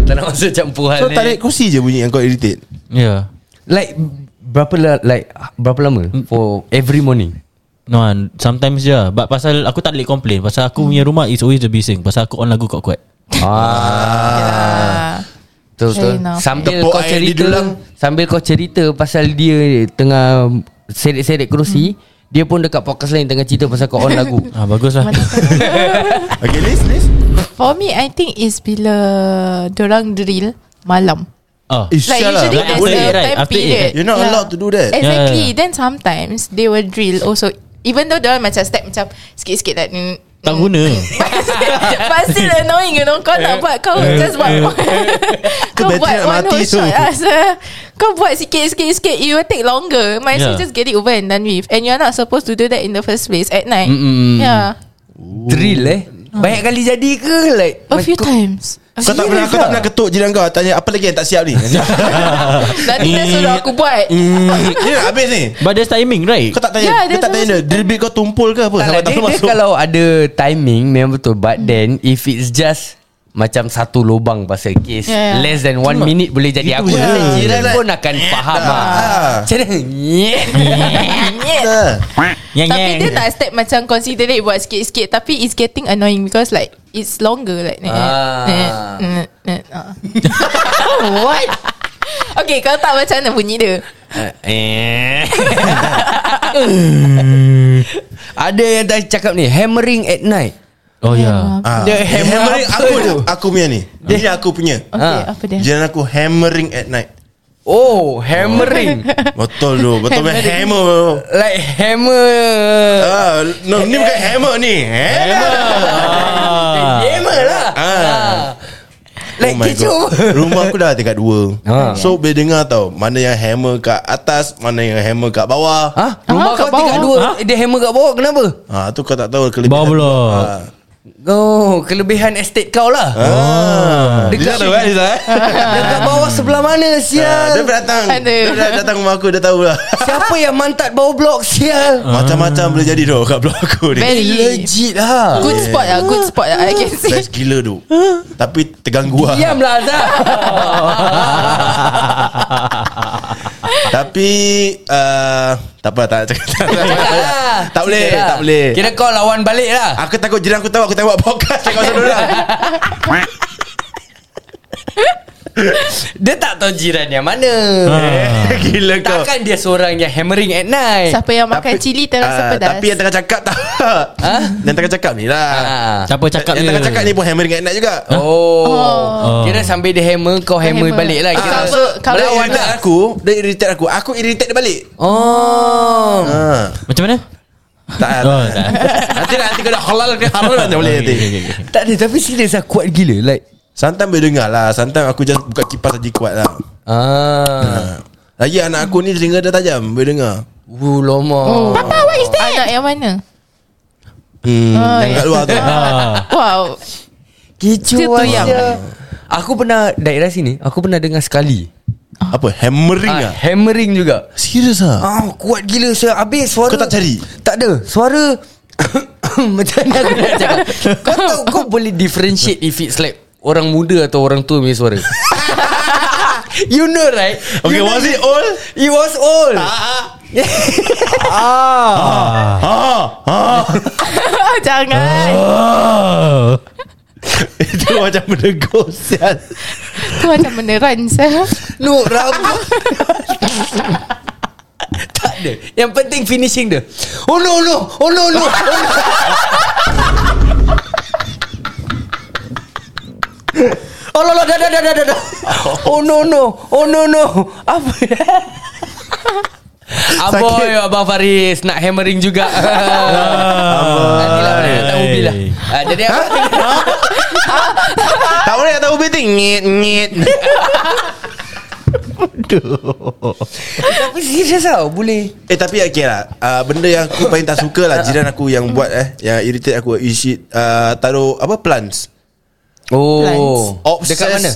Speaker 3: Tak nak masuk campuran
Speaker 2: So
Speaker 3: ni.
Speaker 2: tarik kursi je bunyi yang kau irritate
Speaker 5: Yeah
Speaker 3: Like Berapa la- like Berapa lama
Speaker 5: Hmm.
Speaker 3: For every morning
Speaker 5: No ah, Sometimes je lah. But pasal Aku tak boleh complain Pasal aku punya rumah Is always the bising Pasal aku on lagu kuat-kuat
Speaker 3: Ah,
Speaker 4: Ah.
Speaker 3: Betul betul.
Speaker 4: Fair enough.
Speaker 3: Sambil
Speaker 2: Tepuk
Speaker 3: kau
Speaker 2: air di
Speaker 3: cerita
Speaker 2: dulang.
Speaker 3: sambil kau cerita pasal dia tengah seret-seret
Speaker 4: Hmm.
Speaker 3: kerusi, dia pun dekat podcast lain tengah cerita pasal kau on lagu.
Speaker 2: Oh.
Speaker 5: ah, Bagus lah
Speaker 2: Okay Liz Liz
Speaker 4: For me I think is bila Dorang drill Malam
Speaker 5: ah.
Speaker 2: Eh,
Speaker 4: Like
Speaker 2: sial lah,
Speaker 4: usually
Speaker 2: tak
Speaker 4: there's
Speaker 2: boleh.
Speaker 4: a
Speaker 5: After eight, right?
Speaker 4: time
Speaker 5: After eight,
Speaker 4: period Ya.
Speaker 5: right?
Speaker 2: You're not allowed to do that.
Speaker 5: yeah,
Speaker 4: Exactly
Speaker 5: yeah.
Speaker 4: Then sometimes They will drill also Even though dorang macam step Macam sikit-sikit like, mm,
Speaker 5: Tak
Speaker 4: mm.
Speaker 5: guna
Speaker 4: But still annoying you know Kau nak buat Kau just buat Kau
Speaker 2: bateri
Speaker 4: buat
Speaker 2: nak
Speaker 4: one
Speaker 2: mati
Speaker 4: whole
Speaker 2: tu.
Speaker 4: shot lah, sir. Kau buat sikit-sikit-sikit It will take longer Might as well
Speaker 5: Yeah.
Speaker 4: just get it over and done with And you're not supposed to do that In the first place At night
Speaker 3: Mm-mm.
Speaker 4: Yeah
Speaker 3: Drill eh. Banyak kali jadi ke like
Speaker 4: Oh. A few
Speaker 3: kau-
Speaker 4: times
Speaker 2: Kau tak pernah kau tak pernah ketuk jiran kau tanya apa lagi yang tak siap ni.
Speaker 3: Ya.
Speaker 4: Nanti dah suruh aku buat
Speaker 2: Hmm, Dia nak habis ni.
Speaker 5: But there's timing right
Speaker 2: Kau tak tanya,
Speaker 4: Ya,
Speaker 2: kau
Speaker 4: dia
Speaker 2: tak tanya dia, drill bit kau tumpul ke apa
Speaker 3: tak
Speaker 2: sampai
Speaker 3: lah,
Speaker 2: tak
Speaker 3: dia, dia
Speaker 2: masuk.
Speaker 3: kalau ada timing memang betul but
Speaker 4: Hmm.
Speaker 3: then if it's just macam satu lubang pasal kes
Speaker 4: Yeah, yeah.
Speaker 3: less than one minute boleh jadi aku
Speaker 2: je.
Speaker 3: rasa jiran
Speaker 2: Like-
Speaker 3: pun akan faham lah.
Speaker 2: Ah.
Speaker 3: Macam mana?
Speaker 2: Dah.
Speaker 5: Yang
Speaker 4: Tapi dia tak step Macam considerate Buat sikit-sikit Tapi it's getting annoying Because like It's longer like
Speaker 3: Ah.
Speaker 4: ah. What Okay kau tak macam mana bunyi dia
Speaker 3: Eh. Ada yang tak cakap ni Hammering at night
Speaker 5: Oh yeah
Speaker 2: Ah, dia
Speaker 3: Dia hammer
Speaker 2: hammering
Speaker 3: apa
Speaker 2: aku
Speaker 3: tu?
Speaker 2: aku punya ni. Dia ni aku punya.
Speaker 4: Okay
Speaker 2: Ha.
Speaker 3: Ah.
Speaker 4: apa dia
Speaker 2: Jiran aku hammering at night.
Speaker 3: Oh Hammering
Speaker 2: Betul tu, betul punya hammer.
Speaker 3: Like hammer
Speaker 2: Ah, no, ni bukan hammer ni. Hammer.
Speaker 3: Hammer lah
Speaker 2: Ah. Oh
Speaker 3: Like
Speaker 2: my
Speaker 3: kecoh
Speaker 2: God. Rumah aku dah tingkat dua
Speaker 3: Ha.
Speaker 2: So boleh dengar tau Mana yang hammer kat atas Mana yang hammer kat bawah
Speaker 3: Ha? Rumah
Speaker 4: Ah,
Speaker 3: kau
Speaker 4: kat bawah.
Speaker 3: tingkat dua Dia hammer kat bawah Kenapa?
Speaker 2: Ah tu kau tak tahu
Speaker 5: Bawah
Speaker 2: kelebihan.
Speaker 5: blok.
Speaker 2: Ah.
Speaker 3: Oh, kelebihan estate kau lah.
Speaker 2: Ah. Dekat
Speaker 3: Dekat-
Speaker 2: tu kan Liza eh?
Speaker 3: Dekat bawah sebelah mana
Speaker 2: Ah, Dia
Speaker 3: sial?
Speaker 2: datang Dia
Speaker 4: Aduh.
Speaker 2: dah datang rumah aku Dia tahulah
Speaker 3: Siapa yang mantat bawah blok sial?
Speaker 2: Macam-macam boleh jadi tu Kat blok aku ni
Speaker 4: Very
Speaker 3: Legit lah.
Speaker 4: Good spot Eh, lah Good spot lah I can say
Speaker 2: Best gila tu Tapi terganggu lah
Speaker 3: Diam lah Azhar.
Speaker 2: Tapi uh, Tak apa tak nak cakap Tak, tak,
Speaker 3: Ah,
Speaker 2: tak boleh
Speaker 3: sial lah.
Speaker 2: Tak boleh
Speaker 3: Kira kau lawan balik lah.
Speaker 2: Aku takut jiran aku tahu Aku tengok podcast Cakap pasal orang
Speaker 3: Dia tak tahu jiran yang mana.
Speaker 2: Ha.
Speaker 5: Ah.
Speaker 2: Gila kau
Speaker 3: Takkan dia seorang yang hammering at night.
Speaker 4: Siapa yang makan cili
Speaker 2: ah,
Speaker 4: terasa pedas
Speaker 2: Tapi yang tengah cakap tak ha? Yang tengah cakap ni lah
Speaker 3: Ah.
Speaker 5: Siapa cakap
Speaker 2: Yang tengah cakap ni pun hammer dengan nak juga
Speaker 3: Oh.
Speaker 4: Oh.
Speaker 3: Kira sampai dia hammer kau hammer,
Speaker 4: hammer.
Speaker 3: balik lah.
Speaker 4: Ah,
Speaker 3: Kira
Speaker 4: cover, cover.
Speaker 2: Dia
Speaker 3: melawan
Speaker 2: irritate
Speaker 3: lah.
Speaker 2: aku Dia irritate aku Aku irritate dia balik
Speaker 3: Oh.
Speaker 2: ah.
Speaker 5: Macam mana?
Speaker 2: Tak
Speaker 5: Oh,
Speaker 2: tak.
Speaker 5: tak.
Speaker 2: Nanti nanti kau dah halal Dia halal nanti boleh nanti
Speaker 3: Tak ada tapi serius lah kuat gila like.
Speaker 2: Sometimes boleh dengar lah Sometimes aku just buka kipas Saja kuat lah
Speaker 3: Ah.
Speaker 2: Ah. Lagi anak aku ni Telinga dia tajam Boleh dengar
Speaker 3: Wuh Uh, lama.
Speaker 4: Papa what is that Oh. Anak yang mana
Speaker 2: Hmm,
Speaker 4: Oh,
Speaker 2: yang kat
Speaker 4: ya.
Speaker 2: luar tu Ah.
Speaker 4: Wow
Speaker 3: Kecoh
Speaker 4: Still too young.
Speaker 3: aja. Aku pernah daerah sini, aku pernah dengar sekali.
Speaker 2: Apa hammering
Speaker 3: Ah,
Speaker 2: ah?
Speaker 3: hammering juga.
Speaker 2: Serius ah?
Speaker 3: Ah, kuat gila saya. Habis suara
Speaker 2: Kau tak cari?
Speaker 3: Tak ada. Suara macam mana aku nak cakap? Kau tahu kau boleh differentiate if it's like orang muda atau orang tua punya suara. you know right?
Speaker 2: Okay,
Speaker 3: you know
Speaker 2: was it all?
Speaker 3: It was old. ah.
Speaker 2: Ah, ah.
Speaker 4: Jangan
Speaker 5: Oh.
Speaker 2: Itu macam menegur sial. Ah.
Speaker 4: Tu macam meneran saya
Speaker 3: No, rabak. tak ada. Yang penting finishing dia. Oh no no. Oh no no. Oh, no. Oh no, no, dah, dah, dah, dah, dah, dah. Oh no, no. Oh no, no. Apa? Aboy, Abang Faris Nak hammering juga
Speaker 5: Ah.
Speaker 3: Nantilah boleh datang ubi lah Ah, Jadi apa?
Speaker 2: tak boleh tak ubi ting ngit ngit.
Speaker 3: Tapi serius tau Boleh
Speaker 2: Eh tapi okay lah uh, Benda yang aku paling tak suka lah Jiran aku yang buat eh Yang irritate aku Is it uh, Taruh apa plants
Speaker 3: Oh
Speaker 2: Obsessed
Speaker 3: Dekat mana? Eh.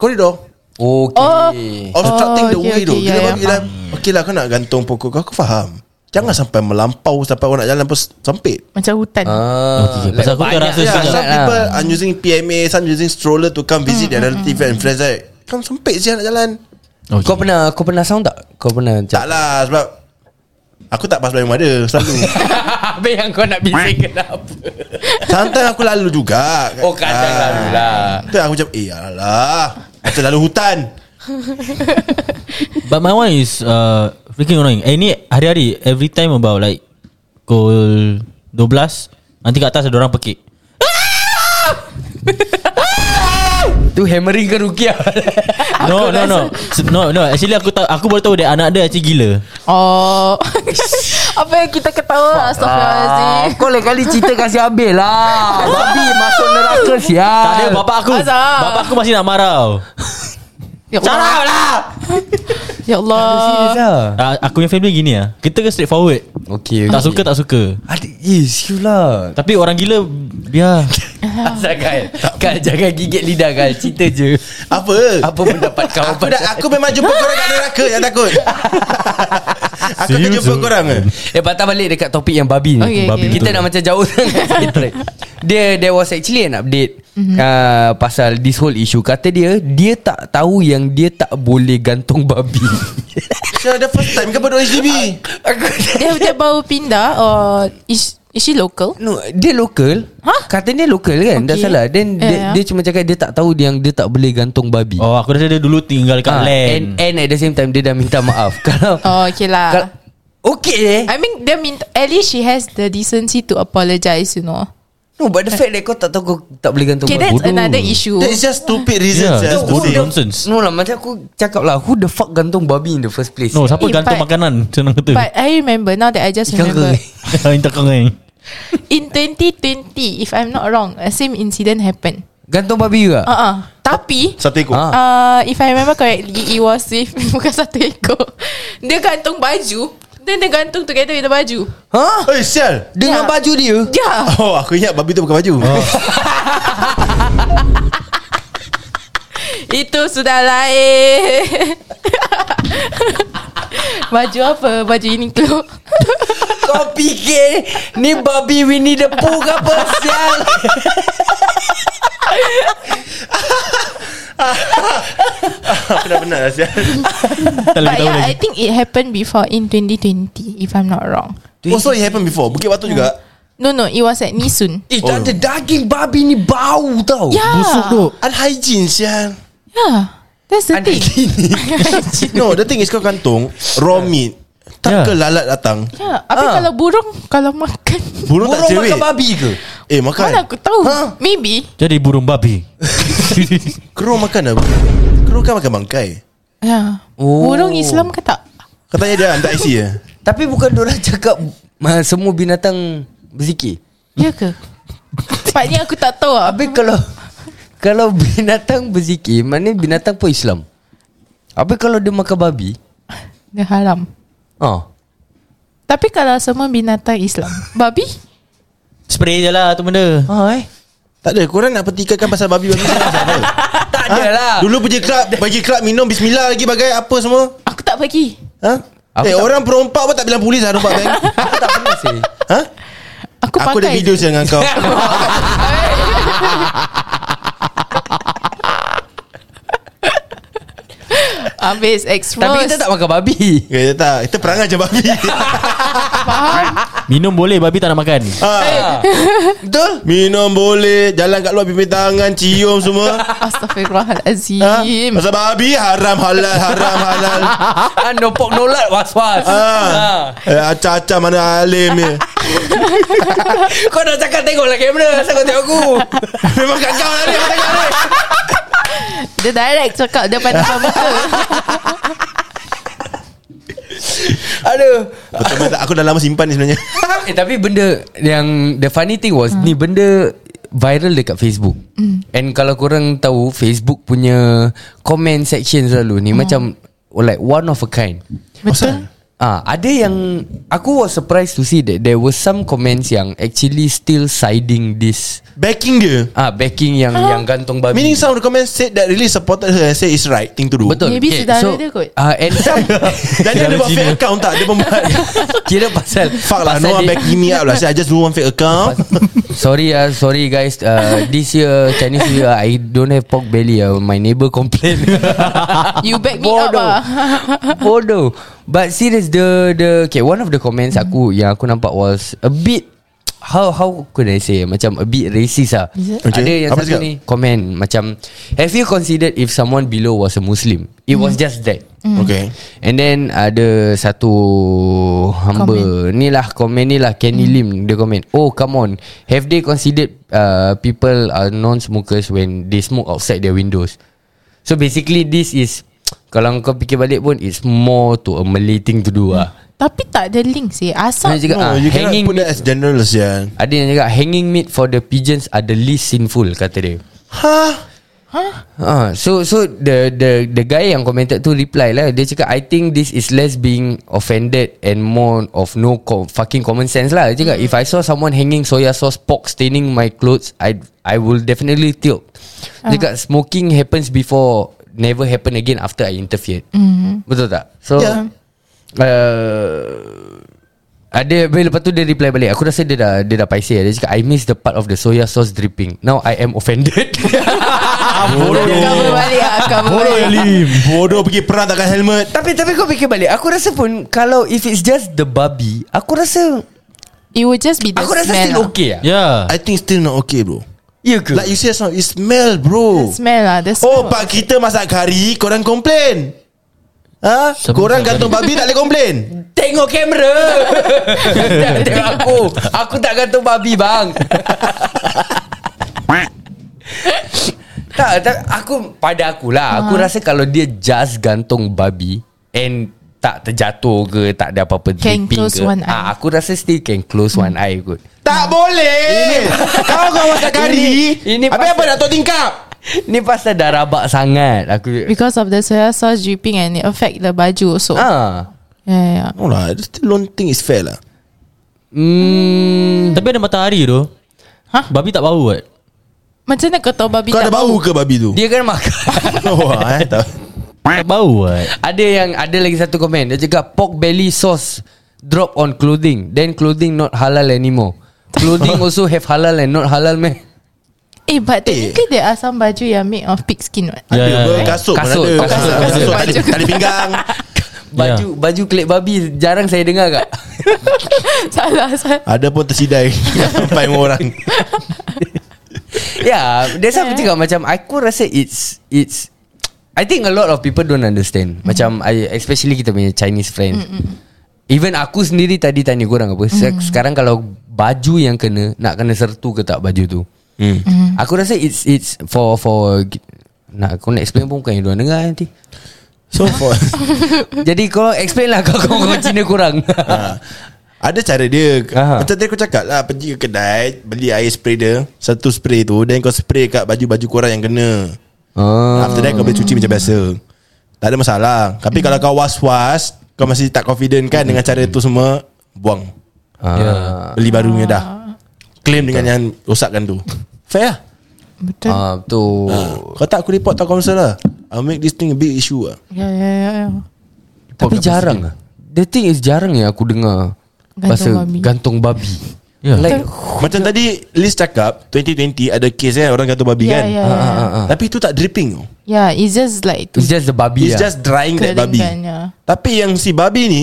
Speaker 2: Koridor
Speaker 4: Oh,
Speaker 3: Okay
Speaker 2: Obstructing oh, the
Speaker 4: okay,
Speaker 2: way
Speaker 4: okay,
Speaker 2: tu
Speaker 4: ya,
Speaker 2: Gila
Speaker 4: ya,
Speaker 2: bagi lah Okay lah kau nak gantung pokok kau Aku faham Jangan sampai melampau Sampai orang nak jalan pun sempit
Speaker 4: Macam hutan
Speaker 3: Ah,
Speaker 5: Okay, pasal aku
Speaker 3: banyak
Speaker 5: terasa
Speaker 2: Yeah,
Speaker 5: sangat.
Speaker 2: some
Speaker 3: sangat lah.
Speaker 2: people are using PMA Some using stroller to come visit their
Speaker 4: Mm,
Speaker 2: relative and friends right? Kan sempit je nak jalan
Speaker 5: Okay.
Speaker 3: Kau pernah kau pernah sound Oh, tak? Kau pernah
Speaker 2: Tak lah sebab Aku tak pas belakang ada Selalu
Speaker 3: Apa yang kau nak bising kenapa?
Speaker 2: Sometimes aku lalu juga
Speaker 3: Oh, kadang lalu lah.
Speaker 2: Tu aku macam Eh alah Macam lalu hutan
Speaker 5: But my one is uh, Freaking annoying Eh ni hari-hari Every time about like Pukul 12 Nanti kat atas ada orang pekik
Speaker 3: Tu hammering ke Rukia?
Speaker 5: No no no S- No no Actually aku tahu Aku baru tahu dia Anak dia actually gila
Speaker 4: Oh Apa yang kita ketawa
Speaker 2: Ah.
Speaker 4: Astaghfirullahaladzim
Speaker 3: Ah, kau lain kali cerita kasih Abil lah. Babi masuk neraka sial.
Speaker 5: Tak ada bapak aku
Speaker 4: Ah, Azhar.
Speaker 5: Bapak aku masih nak marah
Speaker 4: Ya Allah
Speaker 3: Salah lah.
Speaker 4: Ya Allah
Speaker 3: Ah.
Speaker 5: uh, Aku punya family gini lah Kita ke straight forward
Speaker 3: Okay,
Speaker 5: Tak suka tak suka
Speaker 3: Adik is you lah.
Speaker 5: Tapi orang gila Biar
Speaker 3: Asal kan. Kan jangan gigit lidah kan. Cerita je.
Speaker 2: Apa
Speaker 3: Apa pendapat kau
Speaker 2: Aku, dah, aku memang jumpa korang kat neraka Jangan takut Aku
Speaker 5: See
Speaker 2: akan
Speaker 5: you
Speaker 2: jumpa
Speaker 5: soon.
Speaker 2: korang ke
Speaker 3: Eh patah balik dekat topik yang babi ni.
Speaker 4: Okay, Babi okay.
Speaker 3: Kita
Speaker 5: betul.
Speaker 3: dah macam jauh sangat sikit, right? Dia there was actually an update
Speaker 4: Mhm.
Speaker 3: mm-hmm. uh, pasal this whole issue. Kata dia dia tak tahu yang dia tak boleh gantung babi.
Speaker 2: Syah the first time ke berdua HDB
Speaker 3: Aku
Speaker 4: Dia dia baru pindah Or Is, is she local
Speaker 3: No, dia lokal.
Speaker 4: Hah?
Speaker 3: Kata dia lokal kan? Okay. Tak
Speaker 4: Okay.
Speaker 3: salah. Then yeah, dia,
Speaker 4: Yeah, yeah.
Speaker 3: dia cuma cakap dia tak tahu yang dia tak boleh gantung babi.
Speaker 5: Oh aku rasa dia dulu tinggal kat
Speaker 3: Ah, and,
Speaker 5: land
Speaker 3: and at the same time dia dah minta maaf. Kalau
Speaker 4: Oh okay
Speaker 3: kalau,
Speaker 4: lah
Speaker 3: Okay eh.
Speaker 4: I mean dia minta At least she has the decency To apologise you know
Speaker 3: No, but the fact that kau tak tahu kau tak boleh gantung
Speaker 4: Okay
Speaker 3: babi.
Speaker 4: that's
Speaker 5: bodoh.
Speaker 4: another issue
Speaker 2: That is just stupid reasons
Speaker 5: Yeah,
Speaker 2: yeah,
Speaker 5: that's bodoh nonsense.
Speaker 3: No lah macam aku cakap lah Who the fuck gantung babi in the first place
Speaker 5: No, siapa
Speaker 4: Eh,
Speaker 5: gantung
Speaker 4: but-
Speaker 5: makanan? Senang kata.
Speaker 4: But I remember Now that I just
Speaker 3: Ikan
Speaker 4: remember
Speaker 3: ke?
Speaker 5: Minta kau ni.
Speaker 4: In 2020 If I'm not wrong a Same incident happened
Speaker 3: Gantung babi juga
Speaker 4: Uh-uh. Tapi
Speaker 2: Satu ekor
Speaker 3: Ah.
Speaker 4: uh, If I remember correctly It was with Bukan satu ekor Dia gantung baju Then dia gantung together with the baju
Speaker 3: Hah?
Speaker 2: Ah. Oi sial
Speaker 3: Ha? Dengan
Speaker 4: Ya.
Speaker 3: baju dia?
Speaker 4: Yeah
Speaker 2: Oh aku ingat babi tu pakai baju
Speaker 3: Ah.
Speaker 4: Itu sudah lain Baju apa? Baju ini keluar
Speaker 3: Kau fikir Ni babi Winnie the Pooh ke apa Sial
Speaker 2: Aku dah penat lah sial
Speaker 5: Tak
Speaker 4: But
Speaker 5: lagi tahu
Speaker 4: yeah, I
Speaker 5: lagi
Speaker 4: think it happened before in 2020 If I'm not wrong
Speaker 2: Oh so it happened before Bukit Batu juga
Speaker 4: No no, it was at Nisun
Speaker 3: Eh
Speaker 5: Oh.
Speaker 3: tak ada daging babi ni bau tau
Speaker 4: Ya. Busuk tu.
Speaker 3: Ah.
Speaker 2: Unhygiene sial
Speaker 4: Yeah That's the
Speaker 3: Anak
Speaker 4: thing
Speaker 3: ini
Speaker 2: No the thing is kau kantung Raw meat Tak
Speaker 5: Yeah.
Speaker 2: ke lalat datang
Speaker 4: Yeah Habis
Speaker 3: Ah.
Speaker 4: kalau burung Kalau makan
Speaker 2: Burung tak
Speaker 3: Burung
Speaker 2: cerewet
Speaker 3: makan babi ke?
Speaker 2: Eh
Speaker 3: Kan?
Speaker 2: makan
Speaker 4: Mana aku tahu
Speaker 2: Ha?
Speaker 4: Maybe
Speaker 5: Jadi burung babi
Speaker 2: Kerong makan dah Kerong kan makan bangkai
Speaker 4: Yeah
Speaker 3: Oh.
Speaker 4: Ya. Burung Islam ke tak?
Speaker 2: Kau tanya dia hantar IC ya
Speaker 3: Tapi bukan diorang cakap ah, Semua binatang berzikir
Speaker 4: Ya ke? Part ni aku tak tahu lah
Speaker 3: Habis kalau Kalau binatang berzikir Mana binatang pun Islam Habis kalau dia makan babi
Speaker 4: Dia haram
Speaker 3: Ah,
Speaker 4: Tapi kalau semua binatang Islam Babi?
Speaker 5: Spray je lah tu benda
Speaker 3: ah eh
Speaker 2: Tak ada korang nak petikankan pasal babi-babi sekarang pasal apa
Speaker 3: Tak
Speaker 2: Ha?
Speaker 3: lah.
Speaker 2: Dulu pergi kelab Pergi kelab minum Bismillah lagi bagai Apa semua
Speaker 4: Aku tak pergi
Speaker 2: Ha?
Speaker 3: Aku
Speaker 2: eh
Speaker 3: tak-
Speaker 2: orang perompak pun tak bilang polis lah rompak kan
Speaker 3: Aku tak pernah sih
Speaker 2: Ha?
Speaker 4: Aku,
Speaker 2: Aku ada
Speaker 4: pakai
Speaker 2: video
Speaker 4: je.
Speaker 2: saya dengan kau
Speaker 4: Habis expose
Speaker 3: Tapi kita tak makan babi
Speaker 2: Ya tak Kita perang aja babi
Speaker 5: Minum boleh babi tak nak makan
Speaker 2: ha. Betul Minum boleh Jalan kat luar pimpin tangan Cium semua ha?
Speaker 4: Astaghfirullahalazim
Speaker 2: Pasal babi Haram halal Haram halal
Speaker 3: Ah, No pork no lard was-was
Speaker 2: ha.
Speaker 3: Ah.
Speaker 2: Eh, Acah-acah mana alim ni
Speaker 3: Kau dah cakap tengok lah kamera Asal kau tengok aku
Speaker 2: Memang kat kau lah ni kau tengok ni.
Speaker 4: Dia direct cakap Dia pandang komputer
Speaker 3: Aduh
Speaker 2: Betul betul Aku dah lama simpan ni sebenarnya
Speaker 3: eh, Tapi benda Yang The funny thing was Ni benda Viral dekat Facebook And kalau korang tahu Facebook punya Comment section selalu Ni macam Like one of a kind
Speaker 4: Betul
Speaker 3: Ah, ada yang aku was surprised to see that there were some comments yang actually still siding this
Speaker 2: Backing dia
Speaker 3: ah backing yang yang gantung babi.
Speaker 2: Meaning some of the comments Said that really supported her and Say it's right thing to do
Speaker 3: Betul.
Speaker 4: Maybe saudara dia kot.
Speaker 3: Ah, and some
Speaker 2: Dan dia ada buat fake account tak Dia pembuat
Speaker 3: kira pasal
Speaker 2: Fuck lah
Speaker 3: pasal
Speaker 2: No one
Speaker 3: dia-
Speaker 2: backing me up lah Say, I just do one fake account
Speaker 3: Sorry ah, sorry guys. Uh, this year Chinese New Year I don't have pork belly. Uh, my neighbor complain.
Speaker 4: You back me
Speaker 3: Bodoh.
Speaker 4: up lah
Speaker 3: Bodoh. But serious the the okay one of the comments
Speaker 4: Mm-hmm.
Speaker 3: aku yang aku nampak was a bit how how could I say macam a bit racist ah.
Speaker 4: Is it?
Speaker 2: Okay,
Speaker 3: Ada yang
Speaker 2: apa
Speaker 3: satu
Speaker 2: cakap?
Speaker 3: ni comment macam have you considered if someone below was a muslim? It was
Speaker 4: Mm-hmm.
Speaker 3: just that.
Speaker 4: Mm.
Speaker 2: Okay
Speaker 3: And then ada satu hamba ni lah komen ni lah Kenny Lim dia komen oh come on have they considered uh, people are non-smokers when they smoke outside their windows so basically this is kalau kau fikir balik pun it's more to a Malay thing to do lah
Speaker 4: Tapi tak ada link sih Asal
Speaker 3: Dia cakap,
Speaker 2: No
Speaker 3: ah,
Speaker 2: Oh, you cannot
Speaker 3: hanging
Speaker 2: put that as general yeah.
Speaker 3: ada yang cakap hanging meat for the pigeons are the least sinful kata dia
Speaker 2: Ha
Speaker 3: Ah, so so the the the guy yang commented tu reply lah dia cakap I think this is less being offended and more of no co- fucking common sense lah. Dia cakap if I saw someone hanging soya sauce pork staining my clothes I I will definitely tilt. Dia cakap smoking happens before never happen again after I interfered. Betul tak? So
Speaker 2: Yeah.
Speaker 3: uh, ada habis lepas tu dia reply balik Aku rasa dia dah Dia dah paiseh Dia cakap I miss the part of the soya sauce dripping Now I am offended
Speaker 4: Cover balik lah Cover
Speaker 2: Bodoh
Speaker 3: Ah.
Speaker 4: balik
Speaker 2: Lim Bodoh pergi perang takkan helmet
Speaker 3: Tapi tapi kau fikir balik Aku rasa pun Kalau if it's just the babi Aku rasa
Speaker 4: It would just be the
Speaker 3: Aku rasa
Speaker 4: smell
Speaker 3: still
Speaker 4: lah.
Speaker 3: okay lah
Speaker 5: Ya
Speaker 2: I think still not okay bro
Speaker 3: Ya ke?
Speaker 2: Like you say just now It smell bro
Speaker 4: Smell lah The
Speaker 2: Oh
Speaker 4: smell
Speaker 2: pak kita masak kari Korang komplain Ha?
Speaker 5: Sebelum
Speaker 2: Korang
Speaker 5: tak
Speaker 2: gantung babi tak boleh komplain
Speaker 3: Tengok kamera Tak Tengok aku Aku tak gantung babi bang tak, tak Aku Pada akulah Aku rasa kalau dia just gantung babi And tak terjatuh ke Tak ada apa-apa
Speaker 4: Can
Speaker 3: dripping ke,
Speaker 4: close one
Speaker 3: ah,
Speaker 4: eye.
Speaker 3: Aku rasa still can close one eye kot
Speaker 2: Tak boleh Kau kau masak kari
Speaker 3: Ini- ini
Speaker 2: Habis
Speaker 3: pasal-
Speaker 2: apa nak tok tingkap
Speaker 3: Ni pasal dah rabak sangat Aku
Speaker 4: Because of the soya sauce dripping And it affect the baju also
Speaker 3: Ah.
Speaker 4: Yeah, yeah.
Speaker 2: No lah, I still don't think it's fair lah.
Speaker 3: Hmm.
Speaker 5: Tapi ada matahari tu
Speaker 4: Hah?
Speaker 5: Babi tak bau kot
Speaker 4: Macam mana kau tahu babi
Speaker 2: Kau ada
Speaker 4: tak
Speaker 2: bau ke babi tu?
Speaker 3: Dia kan makan
Speaker 2: oh, eh, tak.
Speaker 5: Tak bau kot
Speaker 3: Ada yang Ada lagi satu komen Dia cakap Pork belly sauce Drop on clothing Then clothing not halal anymore Clothing also have halal And not halal meh
Speaker 4: Eh but technically There are some baju Yang made of pig skin right?
Speaker 2: Ada
Speaker 5: Ya, ya,
Speaker 2: apa?
Speaker 5: ya.
Speaker 2: kasut, pun
Speaker 3: Kasut,
Speaker 2: ada. Ah,
Speaker 3: kasut,
Speaker 4: kasut,
Speaker 2: kasut,
Speaker 4: baju.
Speaker 2: tali, tali pinggang.
Speaker 3: Baju yeah. Baju klip babi Jarang saya dengar kak Hmm.
Speaker 4: salah salah
Speaker 2: ada pun tersidai sampai orang.
Speaker 3: Ya yeah, That's why aku cakap Macam aku rasa it's It's I think a lot of people don't understand mm. Macam I, Especially kita punya Chinese friend mm Even aku sendiri tadi tanya korang apa mm. Sekarang kalau Baju yang kena Nak kena sertu ke tak baju tu mm. Mm. Aku rasa it's It's for for Nak aku nak explain pun Bukan yang diorang dengar nanti
Speaker 2: So for
Speaker 3: Jadi korang explain lah Kau korang Cina korang
Speaker 2: ha. Ada cara dia
Speaker 3: Aha.
Speaker 2: Aha. Macam tadi aku cakap lah Pergi ke kedai Beli air spray dia Satu spray tu Then kau spray kat baju-baju korang yang kena
Speaker 3: oh.
Speaker 2: After that kau boleh cuci macam biasa Tak ada masalah Tapi kalau kau was-was Kau masih tak confident kan Dengan cara tu semua Buang
Speaker 5: Ya.
Speaker 3: Ah.
Speaker 2: Beli baru punya dah Claim dengan yang rosakkan tu Fair lah
Speaker 4: Betul
Speaker 3: Ah, Betul
Speaker 2: Kau tak aku report tau council lah I'll make this thing a big issue lah
Speaker 4: Ya ya ya ya.
Speaker 3: Tapi jarang lah The thing is jarang yang aku dengar
Speaker 4: Gantung
Speaker 3: Pasal
Speaker 4: babi.
Speaker 3: gantung babi
Speaker 5: Ya.
Speaker 3: Like
Speaker 2: Macam tadi Liz cakap 2020 ada kes kan Orang gantung babi
Speaker 4: Ya,
Speaker 2: kan
Speaker 4: ya, ya.
Speaker 3: ah, ah, ah.
Speaker 2: Tapi itu tak dripping tau
Speaker 4: Yeah it's just like to
Speaker 3: It's just the babi
Speaker 2: It's
Speaker 3: lah.
Speaker 2: just drying that babi
Speaker 4: keringkan, yeah.
Speaker 2: Tapi yang si babi ni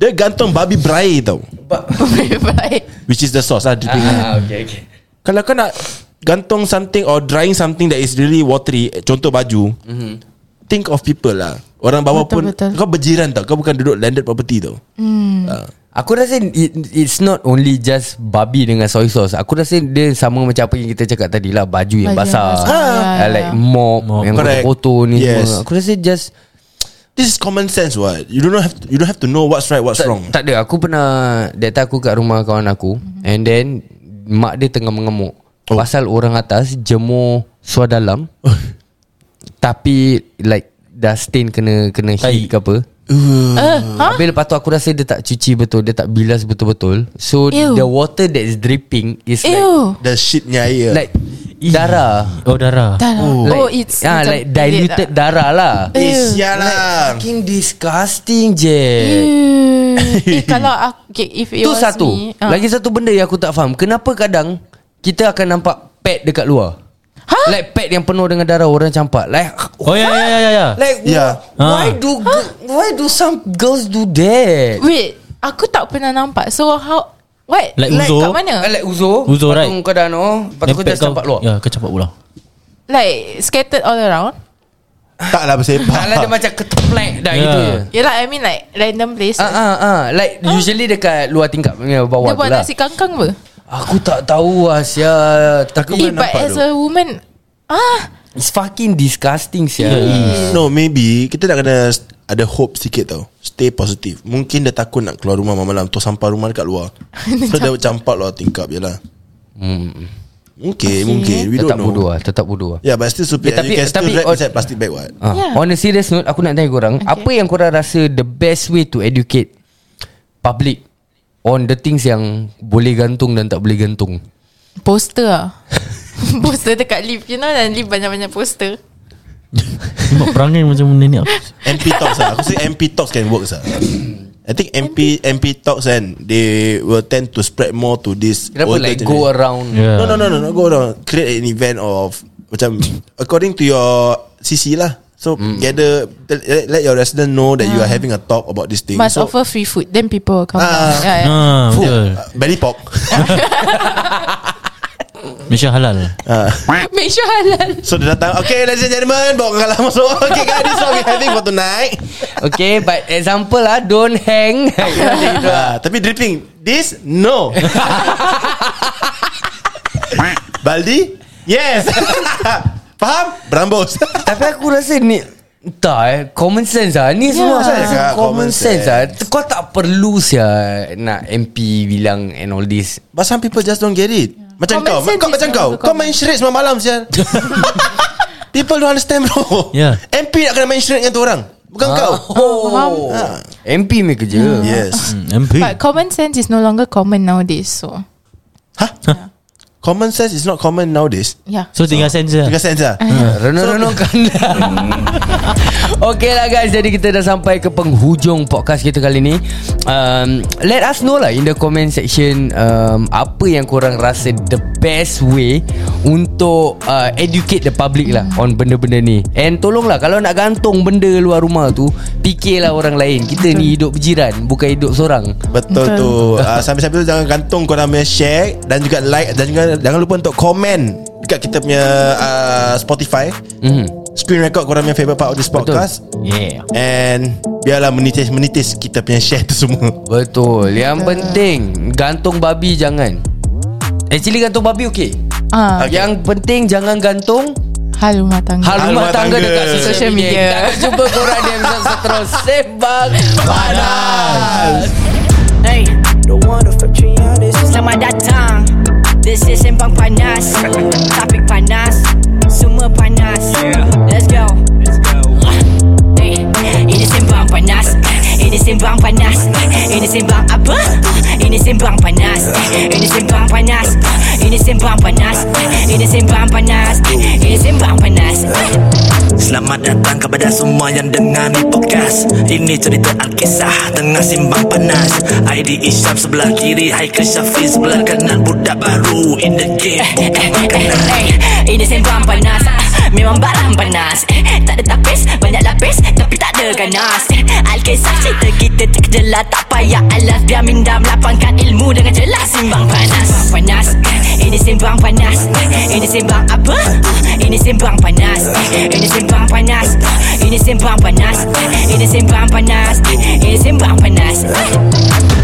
Speaker 2: Dia gantung babi brai tau
Speaker 4: Baik
Speaker 2: Which is the sauce lah dripping ah.
Speaker 3: ah, okay, okay.
Speaker 2: Kalau kau nak Gantung something Or drying something That is really watery eh, Contoh baju mm-hmm.
Speaker 3: Mhm.
Speaker 2: Think of people lah Orang bawah
Speaker 4: Betul,
Speaker 2: pun
Speaker 4: betul.
Speaker 2: Kau berjiran tau Kau bukan duduk landed property tau Ah.
Speaker 3: Aku rasa it, it's not only just babi dengan soy sauce. Aku rasa dia sama macam apa yang kita cakap tadi lah. Baju yang
Speaker 4: Baju yang
Speaker 3: basah.
Speaker 4: basah, ya,
Speaker 3: Ah,
Speaker 4: ya.
Speaker 3: Like mop,
Speaker 5: Mop,
Speaker 3: yang
Speaker 2: correct.
Speaker 3: kotor-kotor ni
Speaker 2: Yes.
Speaker 3: semua. Aku rasa just...
Speaker 2: This is common sense what You don't have to, You don't have to know what's right What's
Speaker 3: Tak,
Speaker 2: wrong
Speaker 3: tak ada. Aku pernah... Data aku kat rumah kawan aku.
Speaker 4: Mhm.
Speaker 3: And then... Mak dia tengah mengemuk.
Speaker 2: Oh.
Speaker 3: Pasal orang atas jemur suar dalam. tapi like... Dah stain kena kena
Speaker 5: Tai.
Speaker 3: heat ke apa
Speaker 4: Uh,
Speaker 3: Habis lepas tu aku rasa dia tak cuci betul Dia tak bilas betul-betul So
Speaker 4: Ew.
Speaker 3: the water that is dripping Is
Speaker 4: Ew
Speaker 2: The shitnya air
Speaker 3: like Like darah
Speaker 5: Oh darah
Speaker 4: Dah lah
Speaker 3: like,
Speaker 4: Oh it's
Speaker 3: ah,
Speaker 4: macam
Speaker 3: Like
Speaker 4: bilik
Speaker 3: diluted
Speaker 4: lah.
Speaker 3: darah lah
Speaker 2: Is ya lah
Speaker 3: Fucking disgusting je
Speaker 4: Eh eh, kalau aku okay, If it
Speaker 3: Itu
Speaker 4: was
Speaker 3: satu
Speaker 4: me ah.
Speaker 3: Lagi satu benda yang aku tak faham Kenapa kadang Kita akan nampak pad dekat luar
Speaker 4: Hah?
Speaker 3: Like pad yang penuh dengan darah orang campak Like
Speaker 5: Oh ya Ha. ya ya ya, ya.
Speaker 3: Like
Speaker 2: Yeah.
Speaker 3: why do why do some girls do that?
Speaker 4: Wait Aku tak pernah nampak So how What
Speaker 5: Like uzur?
Speaker 4: kat mana
Speaker 3: Ah, Like Uzo
Speaker 5: Uzo, right.
Speaker 3: Kau dah no Lepas tu kau
Speaker 5: Lempet
Speaker 3: just campak luar
Speaker 5: Ya kau campak ulang
Speaker 4: Like scattered all around
Speaker 2: Tak lah bersepak
Speaker 3: Tak lah dia macam keteplek Dah
Speaker 5: Yeah.
Speaker 3: gitu je
Speaker 4: Yelah I mean like Random places
Speaker 3: Ah ah ah like usually dekat luar tingkap punya bawah
Speaker 4: Dia
Speaker 3: tu
Speaker 4: buat
Speaker 3: lah.
Speaker 4: nasi kangkang ke
Speaker 3: Aku tak tahu Asia Takut
Speaker 4: Eh but as a woman Ah
Speaker 3: It's fucking disgusting sia.
Speaker 5: Ya.
Speaker 2: Ah. No maybe Kita nak kena s- Ada hope sikit tau Stay positive Mungkin dia takut nak keluar rumah malam-malam Tu sampah rumah dekat luar So dia campak luar tingkap je lah
Speaker 3: Hmm.
Speaker 2: Mungkin Mungkin We
Speaker 3: Tetap
Speaker 2: don't
Speaker 3: bodoh
Speaker 2: know
Speaker 3: lah, tetap bodoh lah.
Speaker 2: Yeah but still stupid You
Speaker 3: Yeah, tapi- eh,
Speaker 2: can still
Speaker 3: tapi
Speaker 2: wrap
Speaker 3: on-
Speaker 2: inside plastic bag what
Speaker 3: Ah,
Speaker 4: Yeah.
Speaker 3: On a serious note Aku nak tanya korang okay. Apa yang korang rasa The best way to educate Public On the things yang Boleh gantung dan tak boleh gantung
Speaker 4: Poster lah Poster dekat lift You know dan lift banyak-banyak poster
Speaker 5: Tembak perangai macam benda ni
Speaker 2: MP Talks lah Aku say MP Talks can work lah I think MP MP Talks kan They will tend to spread more to this
Speaker 3: Kenapa
Speaker 2: older
Speaker 3: like
Speaker 2: generation.
Speaker 3: go around
Speaker 5: Yeah.
Speaker 2: No no no no, no go down. Create an event of macam according to your CC lah. So
Speaker 3: Mm.
Speaker 2: gather let, let your resident know that you are having a talk about this thing.
Speaker 4: Must
Speaker 2: so,
Speaker 4: offer free food Then people will come
Speaker 2: Ah.
Speaker 4: down. yeah, yeah.
Speaker 5: ah,
Speaker 2: Fuh,
Speaker 5: Betul
Speaker 2: uh, belly pop.
Speaker 5: Malaysia halal
Speaker 2: Ah.
Speaker 4: Make sure halal
Speaker 2: so dia datang Okay ladies and gentlemen Bawa kalah masuk Okay guys This is what we're having for tonight
Speaker 3: Okay but example lah Don't hang
Speaker 2: Ah, Tapi dripping This No Baldi Yes Faham? Berambus
Speaker 3: Tapi aku rasa ni Entah eh Common sense lah Ni yeah. semua
Speaker 2: Saya cakap
Speaker 3: rasa Common
Speaker 2: common
Speaker 3: sense, lah Kau tak perlu sia Nak MP bilang And all this
Speaker 2: But some people just don't get it Macam kau
Speaker 4: Common sense
Speaker 2: Kau
Speaker 4: is
Speaker 2: macam
Speaker 4: also
Speaker 2: kau lah, Kau
Speaker 4: common.
Speaker 2: main charade semalam malam sial People don't understand bro
Speaker 5: Yeah.
Speaker 2: MP nak kena main charade dengan tu orang Bukan kau
Speaker 3: Oh,
Speaker 4: Faham?
Speaker 3: MP ni kerja
Speaker 2: Yes
Speaker 5: MP
Speaker 4: But common sense is no longer common nowadays So
Speaker 2: Hah? Common sense is not common nowadays
Speaker 4: yeah
Speaker 5: So tinggal sense lah
Speaker 2: Because sense lah
Speaker 3: Mm. Renung-renungkan dah Okay lah guys Jadi kita dah sampai ke penghujung podcast kita kali ni um, Let us know lah in the comment section um, Apa yang korang rasa the best way Untuk uh, educate the public lah On benda-benda ni And tolonglah Kalau nak gantung benda luar rumah tu Fikirlah orang lain Kita ni hidup berjiran Bukan hidup seorang
Speaker 2: Betul
Speaker 4: Betul.
Speaker 2: tu uh, Sambil-sambil tu jangan gantung korang punya share Dan juga like Dan juga jangan lupa untuk komen Dekat kita punya uh, Spotify
Speaker 3: mm.
Speaker 2: Screen record korang punya favourite part of this podcast
Speaker 5: Yeah
Speaker 2: And Biarlah menitis-menitis kita punya share tu semua
Speaker 3: Betul Yang penting Gantung babi jangan Actually gantung babi okay
Speaker 4: Ah,
Speaker 3: Okay. Yang penting jangan gantung
Speaker 4: Hal rumah tangga
Speaker 3: hal rumah tangga dekat social
Speaker 4: Social
Speaker 3: media.
Speaker 4: media.
Speaker 3: Kita jumpa korang di episode seterusnya. Sembang Panas.
Speaker 1: Hey, Selamat datang This is Sembang Panas Topik panas Semua panas Let's go Hey, Ini Sembang Panas Ini Sembang Panas Ini Sembang apa? Ini Sembang Panas Ini Sembang Panas Ini Sembang Panas Ini Sembang Panas Ini Sembang Panas
Speaker 6: Selamat datang kepada semua yang dengar ni podcast Ini cerita Alkisah tengah simbang panas ID Isyam sebelah kiri Haikal Syafiq sebelah kanan Budak baru in the game bukan makanan
Speaker 1: Eh, Ini sembang panas Ah, Memang barang panas Eh, Tak ada tapis Banyak lapis Tapi tak ada ganas Eh, Alkisah cerita kita terkejelah Tak payah alas Biar mindam lapangkan ilmu Dengan jelas Simbang panas Sembang panas Eh, Ini sembang panas Eh, Ini sembang apa? Ah, Ini sembang panas Eh, Ini sembang panas Ah, Ini sembang panas Eh, Ini sembang panas Eh, Ini sembang panas Eh,